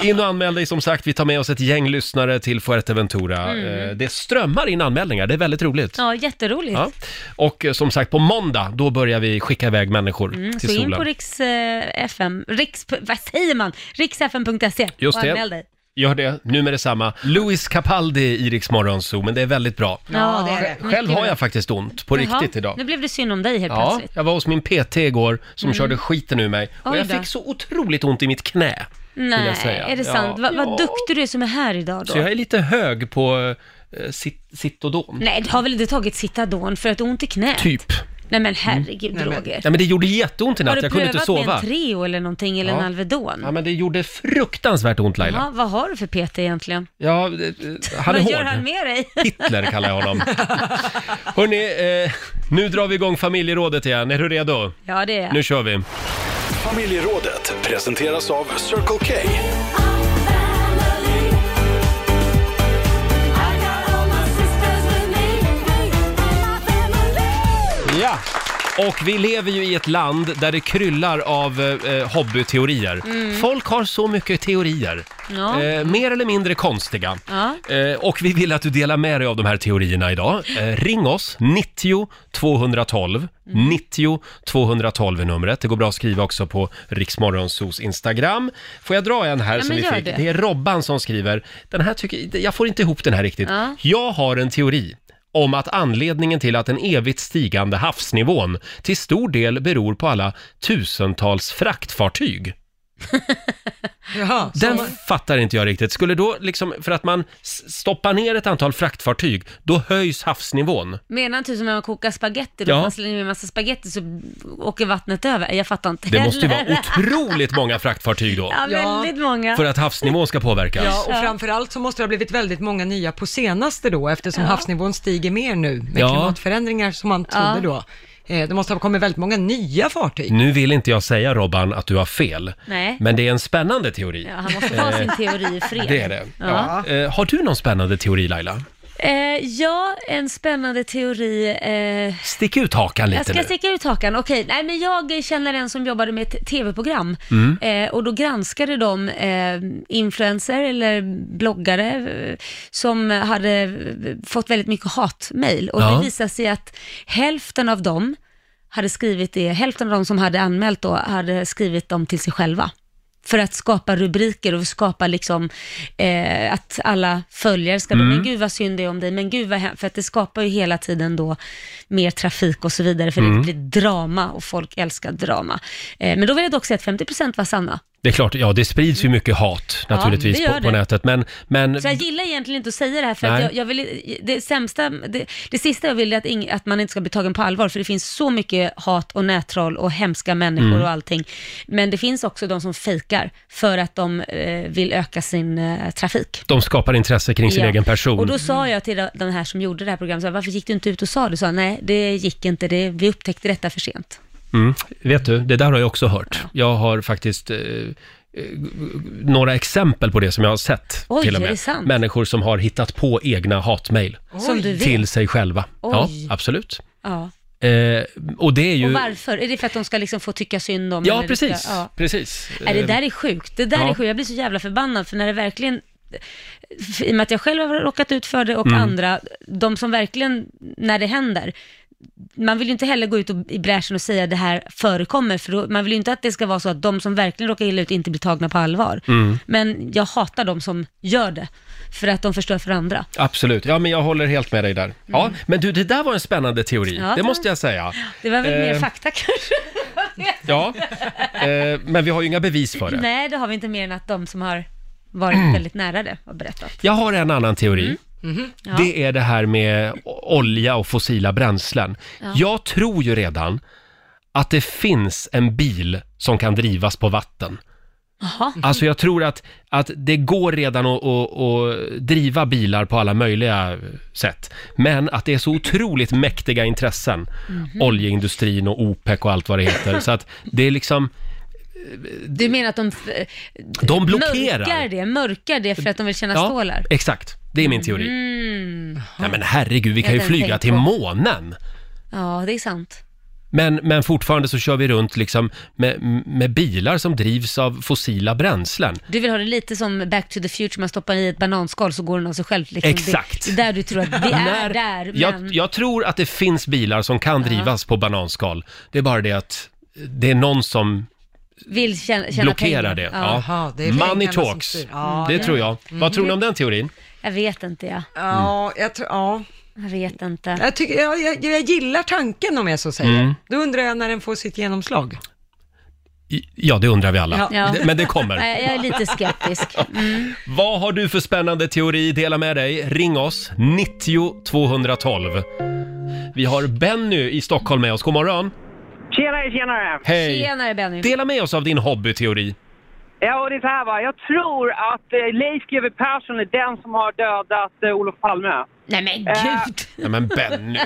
S1: In och anmäl dig som sagt. Vi tar med oss ett gäng lyssnare till Fuerteventura. Eh,
S2: Mm.
S1: Det strömmar in anmälningar. Det är väldigt roligt.
S2: Ja, jätteroligt.
S1: Ja. Och eh, som sagt, på måndag, då börjar vi skicka iväg människor
S2: Mm,
S1: till
S2: så in
S1: solen.
S2: på riks, eh, FM, riks, vad säger man? riksfm.se
S1: Just
S2: E. och
S1: det.
S2: anmäl dig.
S1: Gör det, nu med detsamma. Louis Capaldi i Rix Morgonzoo, men det är väldigt bra.
S4: Ja, det är det.
S2: mycket
S1: Själv har
S2: bra.
S1: jag faktiskt ont, på
S2: Mm, Jaha,
S1: riktigt idag.
S2: Nu blev det synd om dig helt
S1: Ja,
S2: plötsligt. Mm.
S1: jag var hos min PT igår som körde skiten ur mig. Och
S2: Oj
S1: jag
S2: då.
S1: fick så otroligt ont i mitt knä. vill
S2: Nej,
S1: jag säga.
S2: är det
S1: Ja.
S2: sant? Va,
S1: Ja.
S2: vad duktig du är som är här idag då.
S1: Så jag är lite hög på eh, sit- Citodon.
S2: Nej, du har väl inte tagit Citadon för att du har ont i knät?
S1: Typ.
S2: Nej men herregud
S4: Mm. Nej, men-
S2: Roger.
S1: Ja, men det gjorde jätteont i
S2: Har
S1: natt,
S2: du
S1: jag kunde inte
S2: prövat med
S1: sova.
S2: en Treo eller någonting eller
S1: Ja.
S2: en Alvedon?
S1: Ja, men det gjorde fruktansvärt ont Laila.
S2: Ja, vad har du för PT egentligen?
S1: Ja, eh, eh, han är
S2: vad
S1: hård.
S2: gör han med dig?
S1: Hitler kallar jag honom. Hörrni, eh, nu drar vi igång familjerådet igen. Är du redo?
S2: Ja, det är jag.
S1: Nu kör vi.
S3: Familjerådet presenteras av Circle K.
S1: Ja! Och vi lever ju i ett land där det kryllar av eh, hobbyteorier. Folk har så mycket teorier.
S2: Mm. Ja.
S1: Eh, mer eller mindre konstiga.
S2: Ja.
S1: Eh, och vi vill att du delar med dig av de här teorierna idag. Eh, ring oss, 90 212.
S2: Mm.
S1: 90 212 är numret. Det går bra att skriva också på Riksmorgonsos Instagram. Får jag dra en här
S2: Ja,
S1: som
S2: men
S1: vi
S2: gör
S1: fick?
S2: det.
S1: Det är Robban som skriver. Den här tycker, jag får inte ihop den här riktigt.
S2: Ja.
S1: Jag har en teori om att anledningen till att den evigt stigande havsnivån till stor del beror på alla tusentals fraktfartyg
S4: Jaha,
S1: Den
S4: så-
S1: fattar inte jag riktigt. Skulle då liksom, för att man s- stoppar ner ett antal fraktfartyg, då höjs havsnivån.
S2: Menar han typ som när man kokar spagetti, då
S1: Ja.
S2: man slänger med en massa spagetti så åker vattnet över. Jag fattar inte
S1: Det måste ju vara
S2: heller.
S1: otroligt många fraktfartyg då,
S2: Ja,
S4: Ja.
S2: väldigt många.
S1: för att havsnivån ska påverkas.
S4: Ja, och
S2: Ja.
S4: framförallt så måste det ha blivit väldigt många nya på senaste då, eftersom havsnivån stiger mer nu med
S1: Ja.
S4: klimatförändringar som man trodde
S2: Ja.
S4: då. Eh, Det måste ha kommit väldigt många nya fartyg.
S1: Nu vill inte jag säga Robban att du har fel,
S2: Nej.
S1: men det är en spännande teori.
S2: Ja, han måste ta sin teori i fred.
S1: Eh, Det är det.
S2: Ja.
S1: Eh, har du någon spännande teori Laila?
S2: Eh, ja, en spännande teori. Eh,
S1: Stick ut hakan lite
S2: jag ska
S1: nu.
S2: sticka ut hakan. Okej, nej men jag känner en som jobbade med ett tv-program
S1: Mm.
S2: eh, och då granskade de eh, influencer eller bloggare eh, som hade eh, fått väldigt mycket hatmejl och
S1: Ja.
S2: det visade sig att hälften av dem hade skrivit det, hälften av de som hade anmält då hade skrivit dem till sig själva för att skapa rubriker och skapa liksom eh, att alla följare ska, men gud vad synd det är om dig, men gud vad hem-" för att det skapar ju hela tiden då mer trafik och så vidare, för det blir drama och folk älskar drama. Eh, men då vill jag dock säga att 50% var sanna.
S1: Det är klart, ja det sprids ju mycket hat
S2: Ja,
S1: naturligtvis
S2: det gör
S1: på, på
S2: det.
S1: nätet, men, men
S2: Så jag gillar egentligen inte att säga det här, för att
S1: Nej.
S2: jag, jag vill, det sämsta, det, det sista jag vill är att, ing, att man inte ska bli tagen på allvar, för det finns så mycket hat och nättroll och hemska människor
S1: Mm.
S2: och allting. Men det finns också de som fejkar för att de eh, vill öka sin eh, trafik.
S1: de skapar intresse kring sin
S2: Ja.
S1: egen person.
S2: Och då sa jag till den här som gjorde det här programmet, så här, varför gick du inte ut och sa det? Så här, nej, det gick inte, det, vi upptäckte detta för sent.
S1: Mm. Vet du, det där har jag också hört. Jag har faktiskt eh, eh, några exempel på det som jag har sett
S2: Oj,
S1: till och
S2: är
S1: med.
S2: det sant?
S1: Människor som har hittat på egna hatmejl
S2: Som du vet.
S1: till sig själva.
S2: Oj.
S1: Ja, absolut.
S2: Ja.
S1: Eh, och det är ju...
S2: Och varför? Är det för att de ska liksom få tycka synd om
S1: Ja,
S2: eller ska-
S1: precis.
S2: ja.
S1: precis.
S2: Nej, det
S1: Eh,
S2: där är sjukt. Det där
S1: Ja.
S2: är sjukt. Jag blir så jävla förbannad för när det verkligen, i och med att jag själv har råkat ut för det och
S1: Mm.
S2: andra, de som verkligen, när det händer, man vill ju inte heller gå ut och, i bräschen och säga det här förekommer, för då, man vill ju inte att det ska vara så att de som verkligen råkar illa ut inte blir tagna på allvar.
S1: Mm.
S2: Men jag hatar de som gör det, för att de förstör för andra.
S1: Absolut, ja men jag håller helt med dig där. Ja, men du det där var en spännande teori,
S2: Mm. Ja,
S1: det
S2: det-
S1: måste jag säga.
S2: Det var väl
S1: Eh,
S2: mer fakta kanske?
S1: Ja, eh, men vi har ju inga bevis för det. Mm.
S2: Nej, det har vi inte mer än att de som har varit väldigt nära det har berättat.
S1: Jag har en annan teori.
S2: Mm. Mhm. Ja.
S1: Det är det här med o- olja och fossila bränslen. Jag tror ju redan att det finns en bil som kan drivas på vatten.
S2: Jaha.
S1: Alltså jag tror att, att det går redan att, att, att driva bilar på alla möjliga sätt. Men att det är så otroligt mäktiga intressen.
S2: Mhm.
S1: Oljeindustrin och OPEC och allt vad det heter. Så att det är liksom,
S2: Du menar att de eh, f-
S1: de blockerar.
S2: Mörkar det, mörkar det för att de vill tjäna stålar? Mm.
S1: exakt. Det är min teori. Nej men herregud, vi kan ju
S2: hade inte
S1: flyga
S2: tänkt
S1: till
S2: på.
S1: månen.
S2: Ja, det är sant.
S1: Men, men fortfarande så kör vi runt liksom med, med bilar som drivs av fossila bränslen.
S2: Du vill ha det lite som Back to the Future, man stoppar i ett bananskal så går den av sig själv. Liksom.
S1: Exakt.
S2: Det, det är där du tror att vi är
S1: När-
S2: där, men...
S1: jag, jag tror att det finns bilar som kan drivas på bananskal. Det är bara det att det är någon som
S2: vill tjäna, tjäna
S1: blockerar
S2: pengar.
S1: det. Ja.
S2: Ja.
S4: Jaha, det är
S1: Money
S4: pengarna som
S1: talks.
S4: styr. Ja,
S1: det tror jag.
S2: Mm.
S1: Vad tror ni om den teorin?
S2: Jag vet inte, jag.
S4: Ja, jag, tror- ja.
S2: Jag vet inte.
S4: Jag, tycker, jag, jag, jag gillar tanken om jag så säger.
S1: Mm.
S4: Då undrar jag när den får sitt genomslag.
S1: I- Ja, det undrar vi alla.
S2: Ja.
S1: Det- Men det kommer.
S2: Nej, jag är lite skeptisk. Mm.
S1: Vad har du för spännande teori? Dela med dig. Ring oss, 90 212. Vi har Benny i Stockholm med oss. God morgon.
S10: Tjenare, tjenare!
S1: Hej!
S2: Tjenare Benny.
S1: Dela med oss av din hobbyteori.
S10: Ja, och det är så här va. Jag tror att eh, Leif GW Persson är den som har dödat eh, Olof Palme.
S2: Nej men gud!
S1: Ja, men Benny.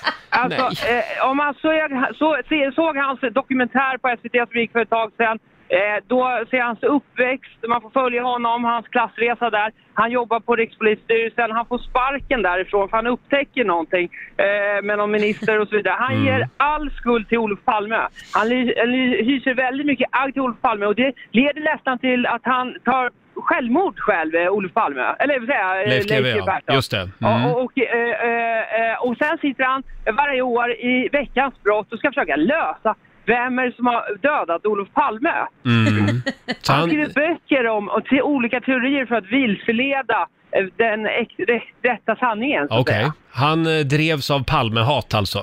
S10: Alltså, eh, om man såg, så, se- såg hans dokumentär på SVT som gick för ett tag sedan, eh, då ser hans uppväxt, man får följa honom, hans klassresa där. Han jobbar på Rikspolisstyrelsen, han får sparken därifrån för han upptäcker någonting eh, med någon minister och så vidare.
S1: Mm.
S10: Han ger all skuld till Olof Palme. Han ly- ly- hyser väldigt mycket agg till Olof Palme och det leder nästan till att han tar självmord själv, eh, Olof Palme. Eller jag vill säga, eh,
S1: Leif GW,
S10: Leif
S1: ja.
S10: Persson.
S1: Just det. Mm.
S10: Ja, och, och, eh, eh, eh, och sen sitter han varje år i veckans brott och ska försöka lösa vem är det som har dödat Olof Palme.
S1: Mm. Så
S10: Han
S1: han,
S10: skriver böcker om och te- olika teorier för att vilseleda eh, den äk- rä- rätta sanningen. så att
S1: Okej.
S10: säga.
S1: Han eh, drevs av Palmehat alltså?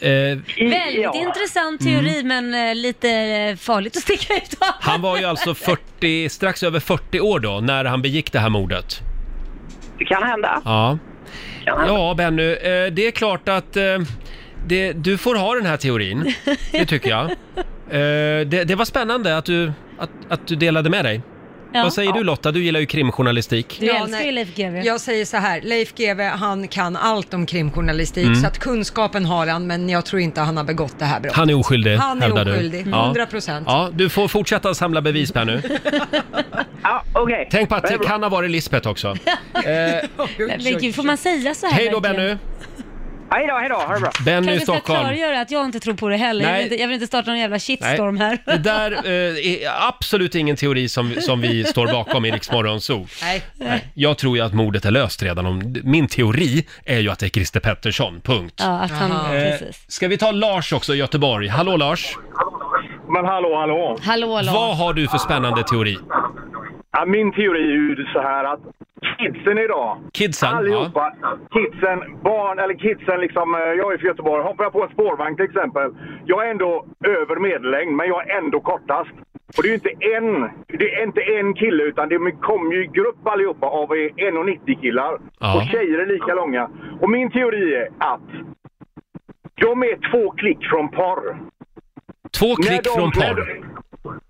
S1: Eh,
S2: Väldigt intressant teori
S1: Mm.
S2: men eh, lite eh, farligt att sticka ut
S1: han var ju alltså 40, strax över 40 år då, när han begick det här mordet.
S10: Det kan hända.
S1: Ja. Ja, Benny, eh, det är klart att eh, det, du får ha den här teorin. Det tycker jag. Eh, Det, det var spännande att du, att, att du delade med dig.
S2: Ja.
S1: Vad säger du Lotta? Du gillar ju krimjournalistik.
S2: Du älskar ju Leif GW.
S4: Jag säger så här, Leif GW han kan allt om krimjournalistik,
S1: Mm.
S4: så att kunskapen har han, men jag tror inte han har begått det här brottet.
S1: Han är oskyldig,
S4: Han är
S1: hävdar du.
S4: oskyldig,
S1: Ja.
S4: 100 procent.
S1: Ja, du får fortsätta samla bevis Benny.
S10: Ja, okej.
S1: Tänk på att det kan ha varit Lisbeth också.
S2: Men gud, får man säga så här
S1: Hej då,
S2: verkligen?
S1: Benny.
S10: Hej då, hej då, ha det bra.
S1: Benny i
S2: Kanske ska jag
S1: Stockholm.
S2: klargöra att jag inte tror på det heller. Jag
S1: Nej.
S2: vill, inte, jag vill inte starta någon jävla shitstorm
S1: Nej,
S2: här.
S1: Det där eh, är absolut ingen teori som, som vi står bakom i Rix Morgon Zoo.
S4: Nej.
S1: Jag tror ju att mordet är löst redan. Om, min teori är ju att det är Christer Pettersson, punkt.
S2: Ja, att han,
S1: Eh,
S2: precis.
S1: Ska vi ta Lars också i Göteborg? Hallå Lars!
S11: Men hallå, hallå.
S1: Eh,
S2: Hallå Lars.
S1: Vad har du för spännande teori?
S11: Ja, min teori är ju så här att kidsen idag.
S1: Kidsen,
S11: Allihopa. Kidsen, barn, eller kidsen liksom. eh, Jag är från Göteborg. Hoppar jag på en spårvagn till exempel. Jag är ändå över medellängd, men jag är ändå kortast. Och det är ju inte en, det är inte en kille utan det kommer ju i grupp allihopa av 1,90 killar.
S12: Ja.
S11: Och tjejer är lika långa. Och min teori är att de är två klick från porr.
S1: Två klick
S11: de-
S1: från
S11: när
S1: porr.
S11: de-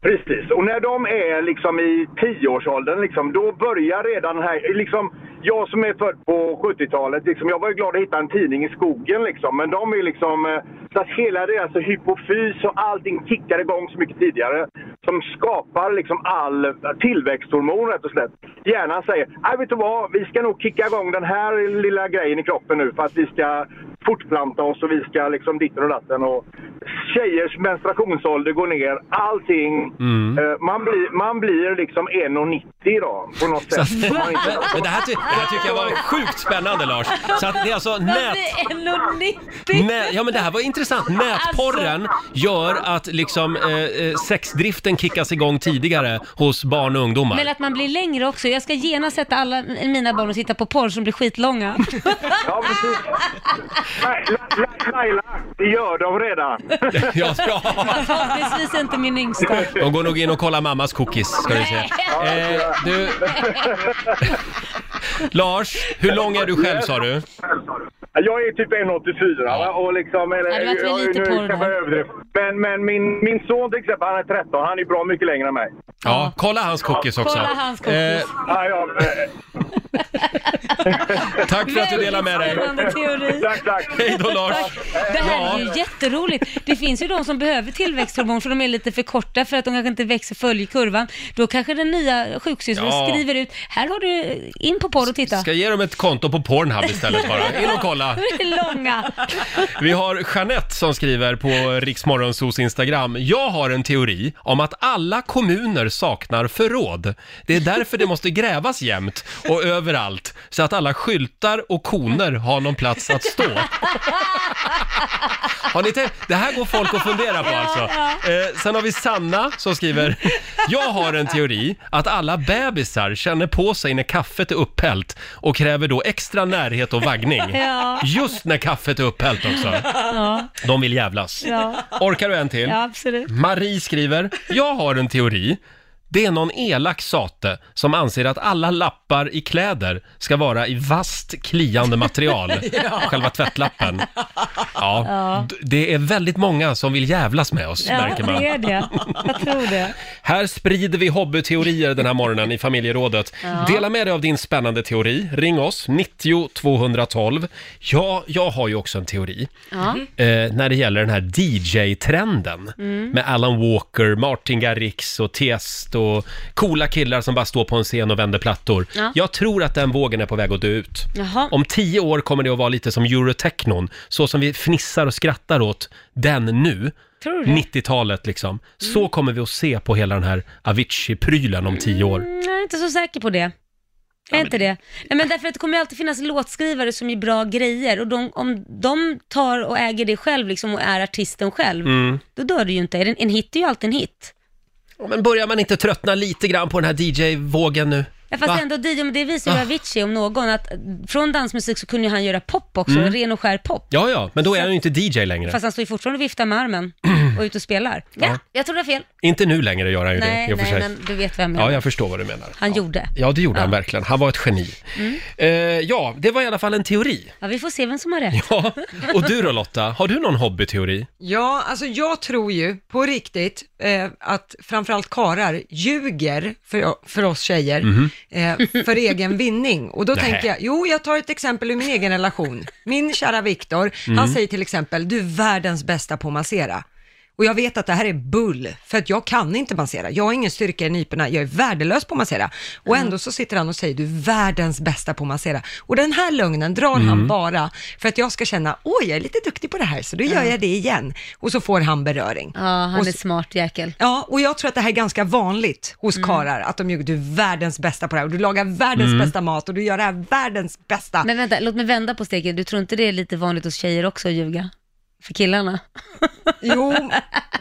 S11: Precis, och när de är liksom i tioårsåldern, liksom, då börjar redan här, liksom, jag som är född på 70-talet, liksom, jag var ju glad att hitta en tidning i skogen liksom, men de är liksom, eh, så att hela deras hypofys och allting kickar igång så mycket tidigare, som skapar liksom all tillväxthormon rätt och slätt. Hjärnan säger, nej vet du vad, vi ska nog kicka igång den här lilla grejen i kroppen nu för att vi ska fortplanta oss och vi ska liksom ditten och datten och tjejers menstruationsålder går ner, Ah, allting.
S1: Mm.
S11: Eh, Man, blir, man blir liksom 1,90 då på något
S1: Så
S11: sätt.
S1: att, men det, här, ty- det här tycker jag var sjukt spännande Lars. Så att det är alltså nät... Nä, ja men det här var intressant.
S2: Alltså-
S1: Nätporren gör att liksom eh, eh, sexdriften kickas igång tidigare hos barn och ungdomar.
S2: Men att man blir längre också. Jag ska genast sätta alla mina barn och titta på porr som blir skitlånga.
S11: Nej, La- La- Laila, det gör de redan.
S1: Ja, bra.
S2: Förhoppningsvis inte min yngsta.
S1: De går nog in och kollar mammas cookies ska du se. Eh, du, Lars, hur lång är du själv sa du?
S11: Jag är typ 1,84 va? och liksom... Eller,
S2: Ja, det var att vi är
S11: jag-
S2: lite
S11: nu
S2: porr
S11: kanske jag överdriver. Men, men min, min son till exempel, han är 13, han är bra mycket längre än mig.
S1: Ja, kolla hans cookies också.
S11: Kolla hans cookies.
S1: Eh,
S11: Ja, ja, men-
S1: tack för att du delar med dig.
S2: Spännande teori.
S11: Tack, tack.
S1: Hej då Lars.
S2: Det här
S1: Ja.
S2: är ju jätteroligt. Det finns ju de som behöver tillväxthormon för de är lite för korta för att de kanske inte växer följkurvan. Då kanske den nya sjuksystern
S1: Ja.
S2: skriver ut, här har du in på porr och titta.
S1: Ska ge dem ett konto på Pornhub istället bara. In och kolla.
S2: De är långa.
S1: Vi har Jeanette som skriver på Riksmorgonsos Instagram. Jag har en teori om att alla kommuner saknar förråd. Det är därför det måste grävas jämt och överallt så att alla skyltar och koner har någon plats att stå. Har ni tänkt? Det här går folk att fundera på alltså. Eh, sen har vi Sanna som skriver, jag har en teori att alla bebisar känner på sig när kaffet är upphällt och kräver då extra närhet och vaggning.
S2: Ja.
S1: Just när kaffet är upphällt också.
S2: Ja.
S1: De vill jävlas.
S2: Ja.
S1: Orkar du en till?
S2: ja, absolut.
S1: Marie skriver, jag har en teori. Det är någon elak sate som anser att alla lappar i kläder ska vara i vasst kliande material.
S12: Ja.
S1: Själva tvättlappen. Ja.
S2: Ja.
S1: d- Det är väldigt många som vill jävlas med oss,
S2: Ja,
S1: märker man.
S2: det är det. Jag tror det.
S1: Här sprider vi hobbyteorier den här morgonen i familjerådet.
S2: Ja.
S1: Dela med dig av din spännande teori. Ring oss, 90 212. Ja, jag har ju också en teori.
S12: Ja.
S2: Mm.
S1: Eh, när det gäller den här DJ-trenden
S12: Mm.
S1: med Alan Walker, Martin Garrix och Tiesto och coola killar som bara står på en scen och vänder plattor.
S2: Ja.
S1: Jag tror att den vågen är på väg att dö ut.
S2: Jaha.
S1: Om tio år kommer det att vara lite som Eurotechnon, så som vi fnissar och skrattar åt den nu.
S2: Tror du det?
S1: 90-talet liksom.
S2: Mm.
S1: Så kommer vi att se på hela den här Avicii-prylen om tio år.
S2: Mm, Jag är inte så säker på det. Jag är inte det. Nej, men därför att det kommer ju alltid finnas låtskrivare som ger bra grejer och de, om de tar och äger det själv liksom och är artisten själv,
S1: Mm.
S2: då dör det ju inte. En, en hit är ju alltid en hit.
S1: Men börjar man inte tröttna lite grann på den här DJ-vågen nu?
S2: Ja, fast
S1: Va? Ah.
S2: ändå Dio, men det visar ju Avicii om någon att från dansmusik så kunde ju han göra pop också,
S1: Mm.
S2: ren och skär pop.
S1: Ja, ja, men då är han ju inte DJ längre.
S2: Fast han står ju fortfarande och viftar med armen och är ute och spelar. Ja,
S1: Ja.
S2: jag tror det är fel.
S1: Inte nu längre gör han ju det
S2: Nej,
S1: i och för
S2: nej,
S1: sig.
S2: men du vet vem jag
S1: Ja,
S2: menar.
S1: jag förstår vad du menar.
S2: Han gjorde.
S1: Ja, det gjorde han verkligen. Han var ett geni.
S2: Mm.
S1: Eh, ja, det var i alla fall en teori.
S2: Ja, vi får se vem som har rätt.
S1: Ja, och du då Lotta, har du någon hobbyteori?
S4: Ja, alltså jag tror ju på riktigt eh, att framförallt karar ljuger för, för oss tjejer
S12: Mhm.
S4: eh, för egen vinning. Och då
S12: Nähä.
S4: tänker jag, jo jag tar ett exempel ur min egen relation. Min kära Viktor, han
S12: Mm.
S4: säger till exempel, du är världens bästa på att massera. Och jag vet att det här är bull, för att jag kan inte massera. Jag har ingen styrka i nyporna, jag är värdelös på att massera. Och
S2: Mm.
S4: ändå så sitter han och säger, du är världens bästa på att massera. Och den här lögnen drar han
S12: Mm.
S4: bara för att jag ska känna, åh jag är lite duktig på det här, så då gör
S2: Ja.
S4: jag det igen. Och så får han beröring.
S2: Ja, han
S4: och
S2: är smart jäkel.
S4: Ja, och jag tror att det här är ganska vanligt hos karlar, att de ljuger, du är världens bästa på det här, och du lagar världens
S2: Mm.
S4: bästa mat, och du gör det här världens bästa.
S2: Men vänta, låt mig vända på steken. Du tror inte det är lite vanligt hos tjejer också att ljuga? För killarna?
S4: Jo,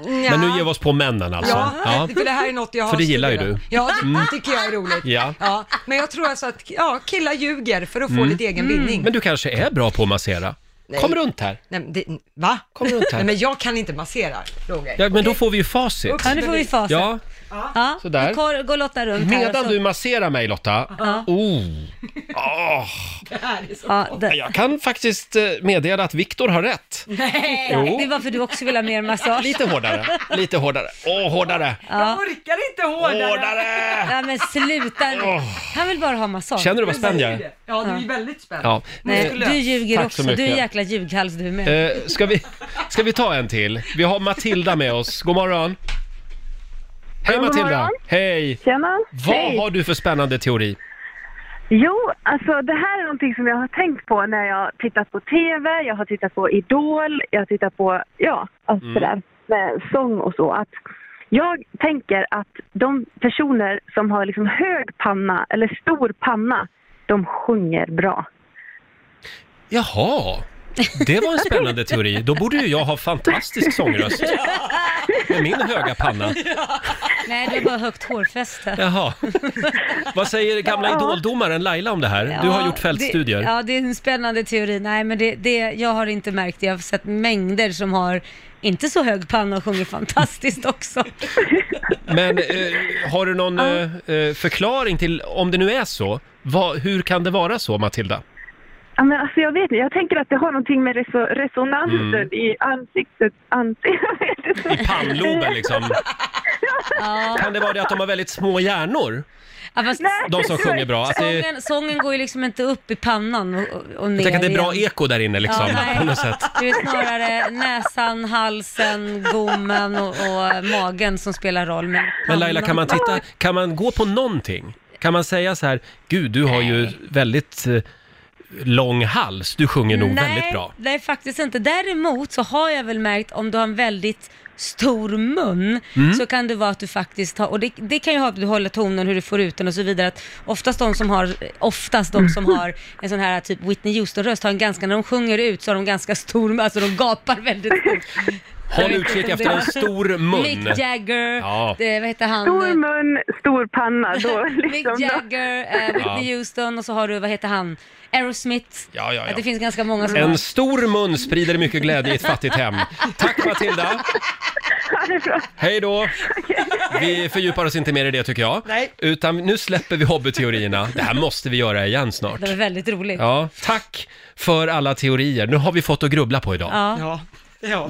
S1: Men nu ger vi oss på männen alltså.
S4: Ja, för det här är något jag har
S1: För det gillar ju
S4: studerat.
S1: du.
S4: Ja, det
S1: Mm.
S4: tycker jag är roligt.
S1: Ja.
S4: Ja, men jag tror alltså att ja, killar ljuger för att få
S1: Mm.
S4: lite egen vinning.
S1: Men du kanske är bra på att massera?
S4: Nej.
S1: Kom runt här.
S4: Nej, men det, va?
S1: Kom runt här.
S4: Nej, men jag kan inte massera, Roger.
S1: Ja, men då får vi ju facit.
S2: Ja, nu får vi facit.
S1: Ja.
S2: Ja,
S1: Sådär.
S2: nu går- går Lotta runt här. och
S1: Medan
S2: så-
S1: du masserar mig Lotta,
S2: Ja.
S1: oh. Ah.
S2: Ja, det...
S1: jag kan faktiskt eh, meddela att Viktor har rätt.
S2: Nej,
S1: Jo.
S2: det var för du också vill ha mer massage.
S1: Lite hårdare, lite hårdare. Åh, hårdare!
S2: Jag
S4: orkar inte hårdare.
S1: Hårdare!
S2: Ja, men sluta nu. Han vill bara ha massage.
S1: Känner du vad spänd jag är?
S4: Ja, du är väldigt spänd.
S1: Ja.
S2: Nej,
S1: Eh,
S2: du ljuger
S1: tack så
S2: också. Du är en
S1: mycket.
S2: jäkla ljughals du med.
S1: Eh, ska, vi, ska vi ta en till? Vi har Matilda med oss. God morgon. Hej
S13: God
S1: Matilda!
S13: morgon.
S1: Hej!
S13: Tjena.
S1: Vad
S13: Hej.
S1: har du för spännande teori?
S13: Jo, alltså det här är någonting som jag har tänkt på när jag har tittat på TV, jag har tittat på Idol, jag har tittat på, ja, allt
S14: Mm.
S13: det där med sång och så. Att jag tänker att de personer som har liksom hög panna eller stor panna, de sjunger bra.
S1: Jaha, det var en spännande teori. Då borde ju jag ha fantastisk sångröst. Med min höga panna.
S2: Nej, det är bara högt hårfäste.
S1: Jaha. Vad säger gamla
S2: Ja.
S1: idoldomaren Laila om det här? Du har
S2: Ja,
S1: gjort fältstudier.
S2: Det, ja, det är en spännande teori. Nej, men det, det, jag har inte märkt det. Jag har sett mängder som har inte så hög panna och sjunger fantastiskt också.
S1: Men eh, har du någon eh, eh, förklaring till, om det nu är så, vad, hur kan det vara så Matilda?
S13: Ja, men alltså jag vet inte, jag tänker att det har någonting med reso- resonansen
S1: Mm.
S13: i ansiktet, ansiktet, jag vet inte.
S1: I pannloben liksom. Kan det vara det att de har väldigt små hjärnor?
S2: Ja, fast,
S1: De som sjunger bra, att Alltså, det-
S2: Sången, sången går ju liksom inte upp i pannan och, och- och ner
S1: Tänk att det är bra
S2: igen.
S1: eko där inne liksom,
S2: Ja, nej.
S1: på något sätt.
S2: Det är snarare näsan, halsen, gommen och, och magen som spelar roll. Men,
S1: Men Laila, kan man
S2: pannan-
S1: titta, kan man gå på någonting? Kan man säga så här, gud du har ju väldigt eh, lång hals, du sjunger nog
S2: nej,
S1: väldigt bra.
S2: Nej, faktiskt inte. Däremot så har jag väl märkt om du har en väldigt stor mun
S1: Mm.
S2: så kan det vara att du faktiskt har, och det, det kan ju ha att du håller tonen, hur du får ut den och så vidare. Att oftast de som har, oftast de som har en sån här typ Whitney Houston-röst har en ganska, när de sjunger ut så har de ganska stor mun, alltså de gapar väldigt stort.
S1: Håll utkik efter en stor mun.
S2: Mick Jagger,
S1: Ja.
S2: det, vad heter han?
S13: Stor mun, stor panna. Då,
S2: Mick
S13: liksom,
S2: Jagger, eh, Whitney
S1: Ja.
S2: Houston och så har du, vad heter han? Aerosmith.
S1: Ja, ja,
S2: Att
S1: ja.
S2: det finns ganska många som har...
S1: En stor mun sprider mycket glädje i ett fattigt hem. Tack Matilda! Hej då! Vi fördjupar oss inte mer i det tycker jag.
S2: Nej.
S1: Utan nu släpper vi hobbyteorierna. Det här måste vi göra igen snart.
S2: Det var väldigt roligt.
S1: Ja, tack för alla teorier. Nu har vi fått att grubbla på idag.
S2: Ja.
S4: Ja.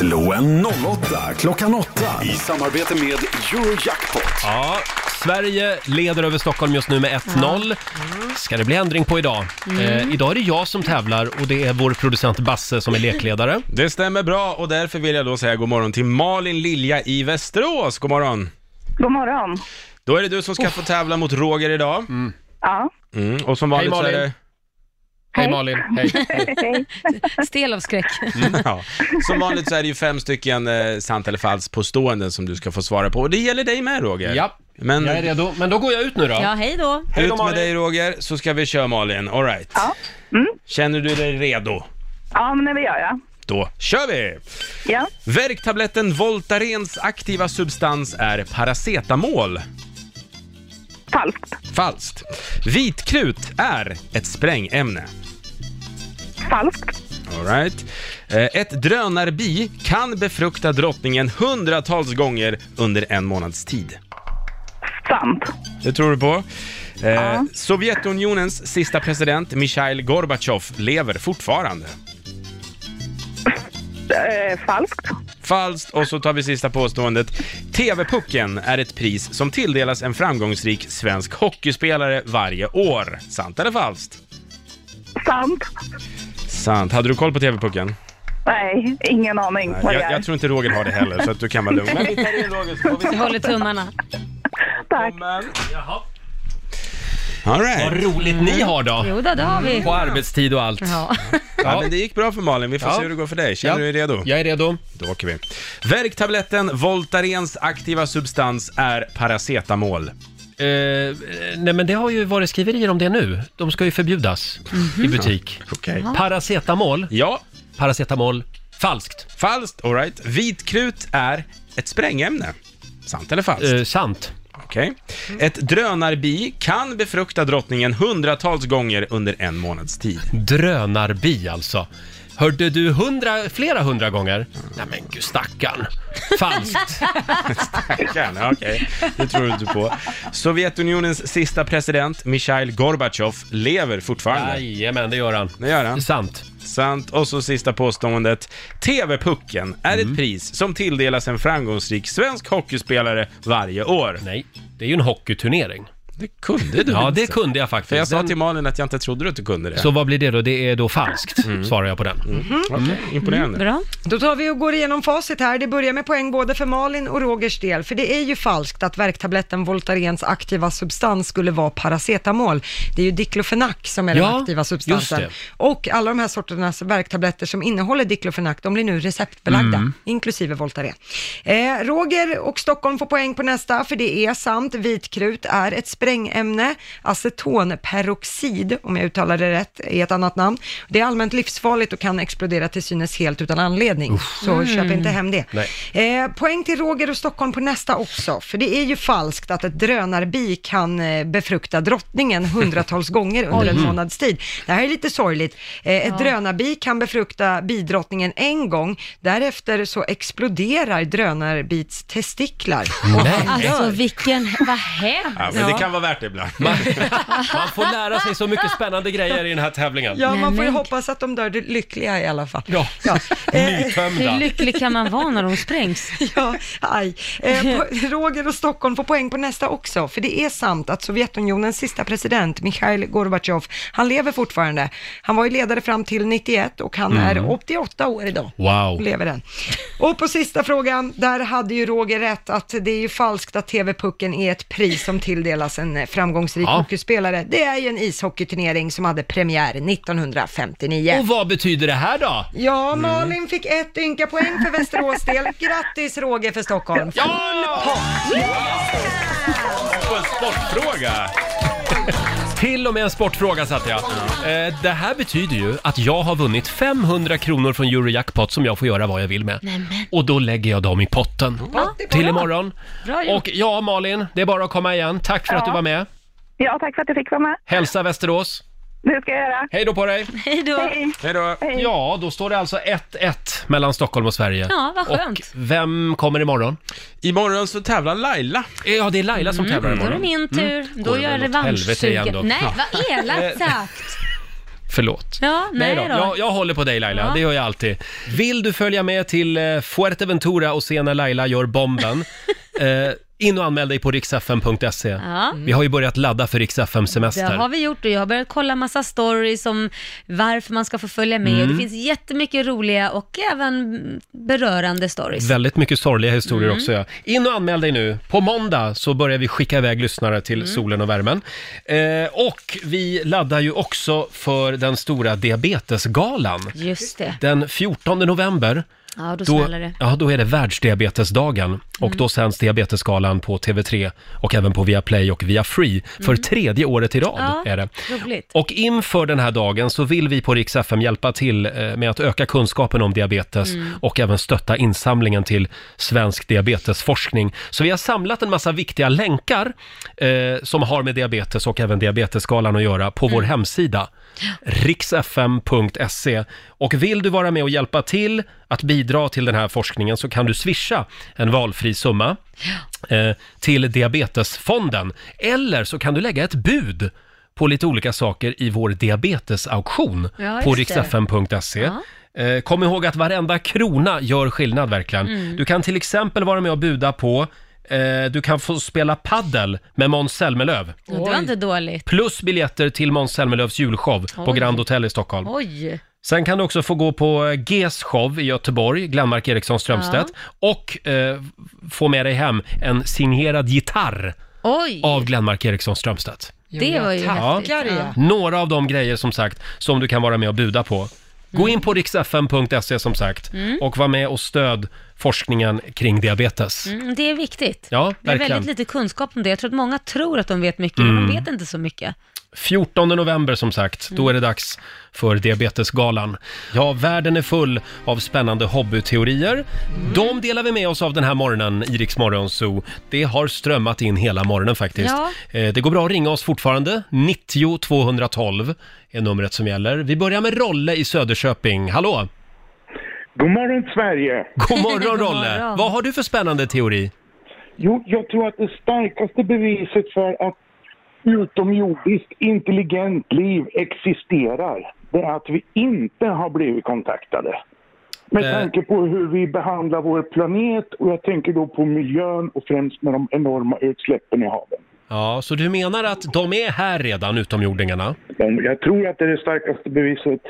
S3: Slå en 08 klockan 8 i samarbete med Eurojackpot.
S1: Ja, Sverige leder över Stockholm just nu med 1-0. Ska det bli ändring på idag?
S5: Mm.
S1: Eh, idag är det jag som tävlar och det är vår producent Basse som är lekledare.
S5: Det stämmer bra och därför vill jag då säga god morgon till Malin Lilja i Västerås. God morgon!
S14: God morgon.
S5: Då är det du som ska få tävla mot Roger idag. Mm.
S14: Ja.
S5: Och som vanligt
S1: Hej,
S5: så är
S1: Malin.
S5: det...
S1: Hej Malin! Hej!
S2: Stel av skräck.
S5: Mm, ja. Som vanligt så är det ju fem stycken eh, sant eller falskt påståenden som du ska få svara på. Och det gäller dig med Roger.
S1: Ja,
S5: Men...
S1: jag är redo. Men då går jag ut nu då.
S2: Ja, hej då.
S5: ut med dig Roger, så ska vi köra Malin. All right. Känner du dig redo?
S14: Ja, men det gör jag.
S5: Då kör vi!
S13: Ja.
S5: Värktabletten Voltarens aktiva substans är paracetamol.
S13: Falskt.
S5: Falskt. Vitkrut är ett sprängämne.
S13: Falskt.
S5: All right. Eh, Ett drönarbi kan befrukta drottningen hundratals gånger under en månads tid.
S13: Sant.
S5: Det tror du på? Eh, Sovjetunionens sista president Mikhail Gorbachev lever fortfarande.
S13: Eh, falskt.
S5: Falskt. Och så tar vi sista påståendet. TV-pucken är ett pris som tilldelas en framgångsrik svensk hockeyspelare varje år. Sant eller falskt?
S13: Sant.
S5: Sant. Hade du koll på TV-pucken?
S13: Nej, ingen aning vad det
S5: Jag,
S13: är.
S5: jag tror inte Roger har det heller, så att du kan vara lugn. Men vi tar in Roger.
S8: Jag håller tummarna.
S13: Tack.
S5: All right.
S1: Vad roligt ni har då.
S8: Jo då, det har vi.
S1: På arbetstid och allt.
S8: Ja.
S5: Ja, men det gick bra för Malin. Vi får
S1: Ja.
S5: se hur det går för dig. Känner
S1: Ja.
S5: du dig redo?
S1: Jag är redo.
S5: Då åker vi. Värktabletten Voltarens aktiva substans är paracetamol.
S1: Eh, nej men det har ju varit skriverier om det nu. De ska ju förbjudas i butik.
S5: Okej.
S1: Paracetamol.
S5: Ja.
S1: Paracetamol. Falskt.
S5: Falskt, alright. Vitkrut är ett sprängämne. Sant eller falskt?
S1: Eh. sant.
S5: Okej. Ett drönarbi kan befrukta drottningen hundratals gånger under en månads tid.
S1: Drönarbi alltså. Hörde du hundra, flera hundra gånger? Nej men gud stackarn. Falskt.
S5: Stackarn, okej. Det tror du inte på. Sovjetunionens sista president, Mikhail Gorbachev, lever fortfarande.
S1: Jajamän, det gör han.
S5: Det gör han.
S1: Sant.
S5: Sant. Och så sista påståendet. TV-pucken är ett pris som tilldelas en framgångsrik svensk hockeyspelare varje år.
S1: Nej, det är ju en hockeyturnering.
S5: Det kunde du
S1: Ja,
S5: inte.
S1: det kunde jag faktiskt.
S5: För jag sa
S1: Den-
S5: till Malin att jag inte trodde att du kunde det.
S1: Så vad blir det då? Det är då falskt,
S5: Mm.
S1: svarar jag på den.
S5: Okej, imponerande.
S8: Bra.
S4: Då tar vi och går igenom facit här. Det börjar med poäng både för Malin och Rogers del, för det är ju falskt att värktabletten Voltarens aktiva substans skulle vara paracetamol. Det är ju diklofenac som är
S1: Ja,
S4: den aktiva substansen.
S1: just
S4: Och alla de här sorternas värktabletter som innehåller diklofenac, de blir nu receptbelagda,
S1: Mm.
S4: inklusive Voltaren. Eh, Roger och Stockholm får poäng på nästa, för det är sant. Vitkrut är ett sprängämne. Acetonperoxid, om jag uttalar det rätt, är ett annat namn. Det är allmänt livsfarligt och kan explodera till synes helt utan anledning. Så
S8: Mm.
S4: köp inte hem det.
S1: Nej.
S4: Eh, poäng till Roger och Stockholm på nästa också, för det är ju falskt att ett drönarbi kan eh, befrukta drottningen hundratals gånger under en
S8: Oj.
S4: månads tid. Det här är lite sorgligt. Eh, ett
S8: Ja.
S4: drönarbi kan befrukta bidrottningen en gång, därefter så exploderar drönarbits testiklar. Och
S1: Nej.
S4: han
S8: Alltså
S4: dör.
S8: vilken, vad hemskt.
S5: Ja, men det kan vara värt det ibland.
S1: Man får lära sig så mycket spännande grejer i den här tävlingen.
S4: Ja, man får ju
S8: men-
S4: hoppas att de dör lyckliga i alla fall.
S1: Ja,
S8: Hur
S4: Eh,
S5: Eh,
S1: nytömda.
S8: lycklig kan man vara när de sprängs?
S4: Ja, aj. Eh, po- Roger och Stockholm får poäng på nästa också, för det är sant att Sovjetunionens sista president, Mikhail Gorbachev, han lever fortfarande. Han var ju ledare fram till 91 och han är 88 år idag.
S1: Mm. Wow.
S4: Lever den. Och på sista frågan, där hade ju Roger rätt att det är ju falskt att TV-pucken är ett pris som tilldelas en eh, framgångsrik
S1: Ja.
S4: hockeyspelare. Det är ju en ishockeyturnering som hade premiär 1959.
S1: Och vad betyder det här då?
S4: Ja, Malin fick ett ynka poäng för Västerås del. Grattis Roger för Stockholm.
S5: På en sportfråga.
S1: Till och med en sportfråga satte jag. Eh, Det här betyder ju att jag har vunnit 500 kronor från Eurojackpot som jag får göra vad jag vill med. Och då lägger jag dem i potten. Till imorgon.
S8: Bra gjort.
S1: Och ja, Malin, det är bara att komma igen. Tack för att du var med.
S13: Ja, tack för att jag fick vara med.
S1: Hälsa Västerås.
S13: Det ska jag göra.
S1: Hej då på dig!
S8: Hej då.
S13: Hej.
S5: Hej då.
S1: Ja, då står det alltså 1-1 mellan Stockholm och Sverige.
S8: Ja, vad skönt.
S1: Och vem kommer imorgon?
S5: Imorgon så tävlar Laila.
S1: Ja, det är Laila som tävlar
S8: Då är det
S1: imorgon.
S8: min tur. Då
S1: det
S8: gör jag
S1: väl åt helvete igen då.
S8: revanschsugen. Nej, vad elakt sagt.
S1: Förlåt.
S8: Ja, nej då.
S1: Jag, jag håller på dig Laila,
S8: Ja.
S1: det gör jag alltid. Vill du följa med till eh, Fuerteventura och se när Laila gör bomben? eh, in och anmäl dig på riksfm.se.
S8: Ja. Mm.
S1: Vi har ju börjat ladda för riksfm
S8: Det
S1: semester
S8: har vi gjort och jag har börjat kolla massa stories om varför man ska få följa med.
S1: Mm.
S8: Det finns jättemycket roliga och även berörande stories.
S1: Väldigt mycket sorgliga historier
S8: Mm.
S1: också. Ja. In och anmäl dig nu. På måndag så börjar vi skicka iväg lyssnare till
S8: Mm.
S1: solen och värmen. Eh, och vi laddar ju också för den stora diabetesgalan.
S8: Just det.
S1: Den 14 november
S8: Ja, då
S1: Då,
S8: smäller det.
S1: ja, då är det världsdiabetesdagen och
S8: Mm.
S1: då sänds diabetesgalan på TV3 och även på Viaplay och via Free för
S8: Mm.
S1: tredje året i rad.
S8: Ja,
S1: är det.
S8: Roligt.
S1: Och inför den här dagen så vill vi på Rix FM hjälpa till eh, med att öka kunskapen om diabetes
S8: Mm.
S1: och även stötta insamlingen till svensk diabetesforskning. Så vi har samlat en massa viktiga länkar eh, som har med diabetes och även diabetesgalan att göra på vår hemsida riksfm.se. Och vill du vara med och hjälpa till att bidra till den här forskningen så kan du swisha en valfri summa eh, till Diabetesfonden. Eller så kan du lägga ett bud på lite olika saker i vår diabetesauktion
S8: Ja,
S1: på
S8: just det.
S1: riksfm.se. Eh, Kom ihåg att varenda krona gör skillnad verkligen.
S8: Mm.
S1: Du kan till exempel vara med och buda på eh, du kan få spela paddel med Måns Zelmerlöw.
S8: Ja, det var inte dåligt.
S1: Plus biljetter till Måns Zelmerlöws julshow på
S8: Oj.
S1: Grand Hotel i Stockholm.
S8: Oj!
S1: Sen kan du också få gå på eh, Gs show i Göteborg, Glenmark Eriksson Strömstedt. Och eh, få med dig hem en signerad gitarr
S8: Oj!
S1: av Glenmark Eriksson Strömstedt.
S8: Det var ju häftigt. Ja.
S1: Några av de grejer som sagt som du kan vara med och buda på. Gå in på riksfm.se som sagt
S8: Mm.
S1: och var med och stöd forskningen kring diabetes.
S8: Mm, det är viktigt.
S1: Ja,
S8: Det är
S1: verkligen.
S8: väldigt lite kunskap om det. Jag tror att många tror att de vet mycket, men de
S1: Mm.
S8: vet inte så mycket.
S1: 14 november som sagt,
S8: Mm.
S1: då är det dags för Diabetesgalan. Ja, världen är full av spännande hobbyteorier.
S8: Mm.
S1: De delar vi med oss av den här morgonen i Rix Morgon Zoo. Det har strömmat in hela morgonen faktiskt.
S8: Ja.
S1: Eh, Det går bra att ringa oss fortfarande. 90 212 är numret som gäller. Vi börjar med Rolle i Söderköping. Hallå!
S12: God morgon Sverige!
S1: God morgon
S12: God
S1: Rolle!
S12: morgon.
S1: Vad har du för spännande teori?
S12: Jo, jag tror att det starkaste beviset för att utomjordiskt intelligent liv existerar, det är att vi inte har blivit kontaktade. Med
S1: Eh.
S12: tanke på hur vi behandlar vår planet och jag tänker då på miljön och främst med de enorma utsläppen i haven.
S1: Ja, så du menar att de är här redan, utomjordingarna?
S12: Men jag tror att det är det starkaste beviset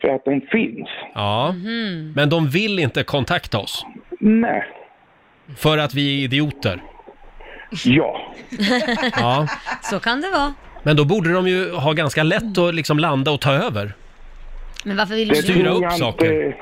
S12: för att de finns.
S1: Ja,
S8: Mhm.
S1: men de vill inte kontakta oss.
S12: Nej.
S1: För att vi är idioter.
S12: Ja.
S1: ja.
S8: Så kan det vara.
S1: Men då borde de ju ha ganska lätt att liksom landa och ta över.
S8: Men varför vill
S12: Det
S8: du
S12: tror jag inte.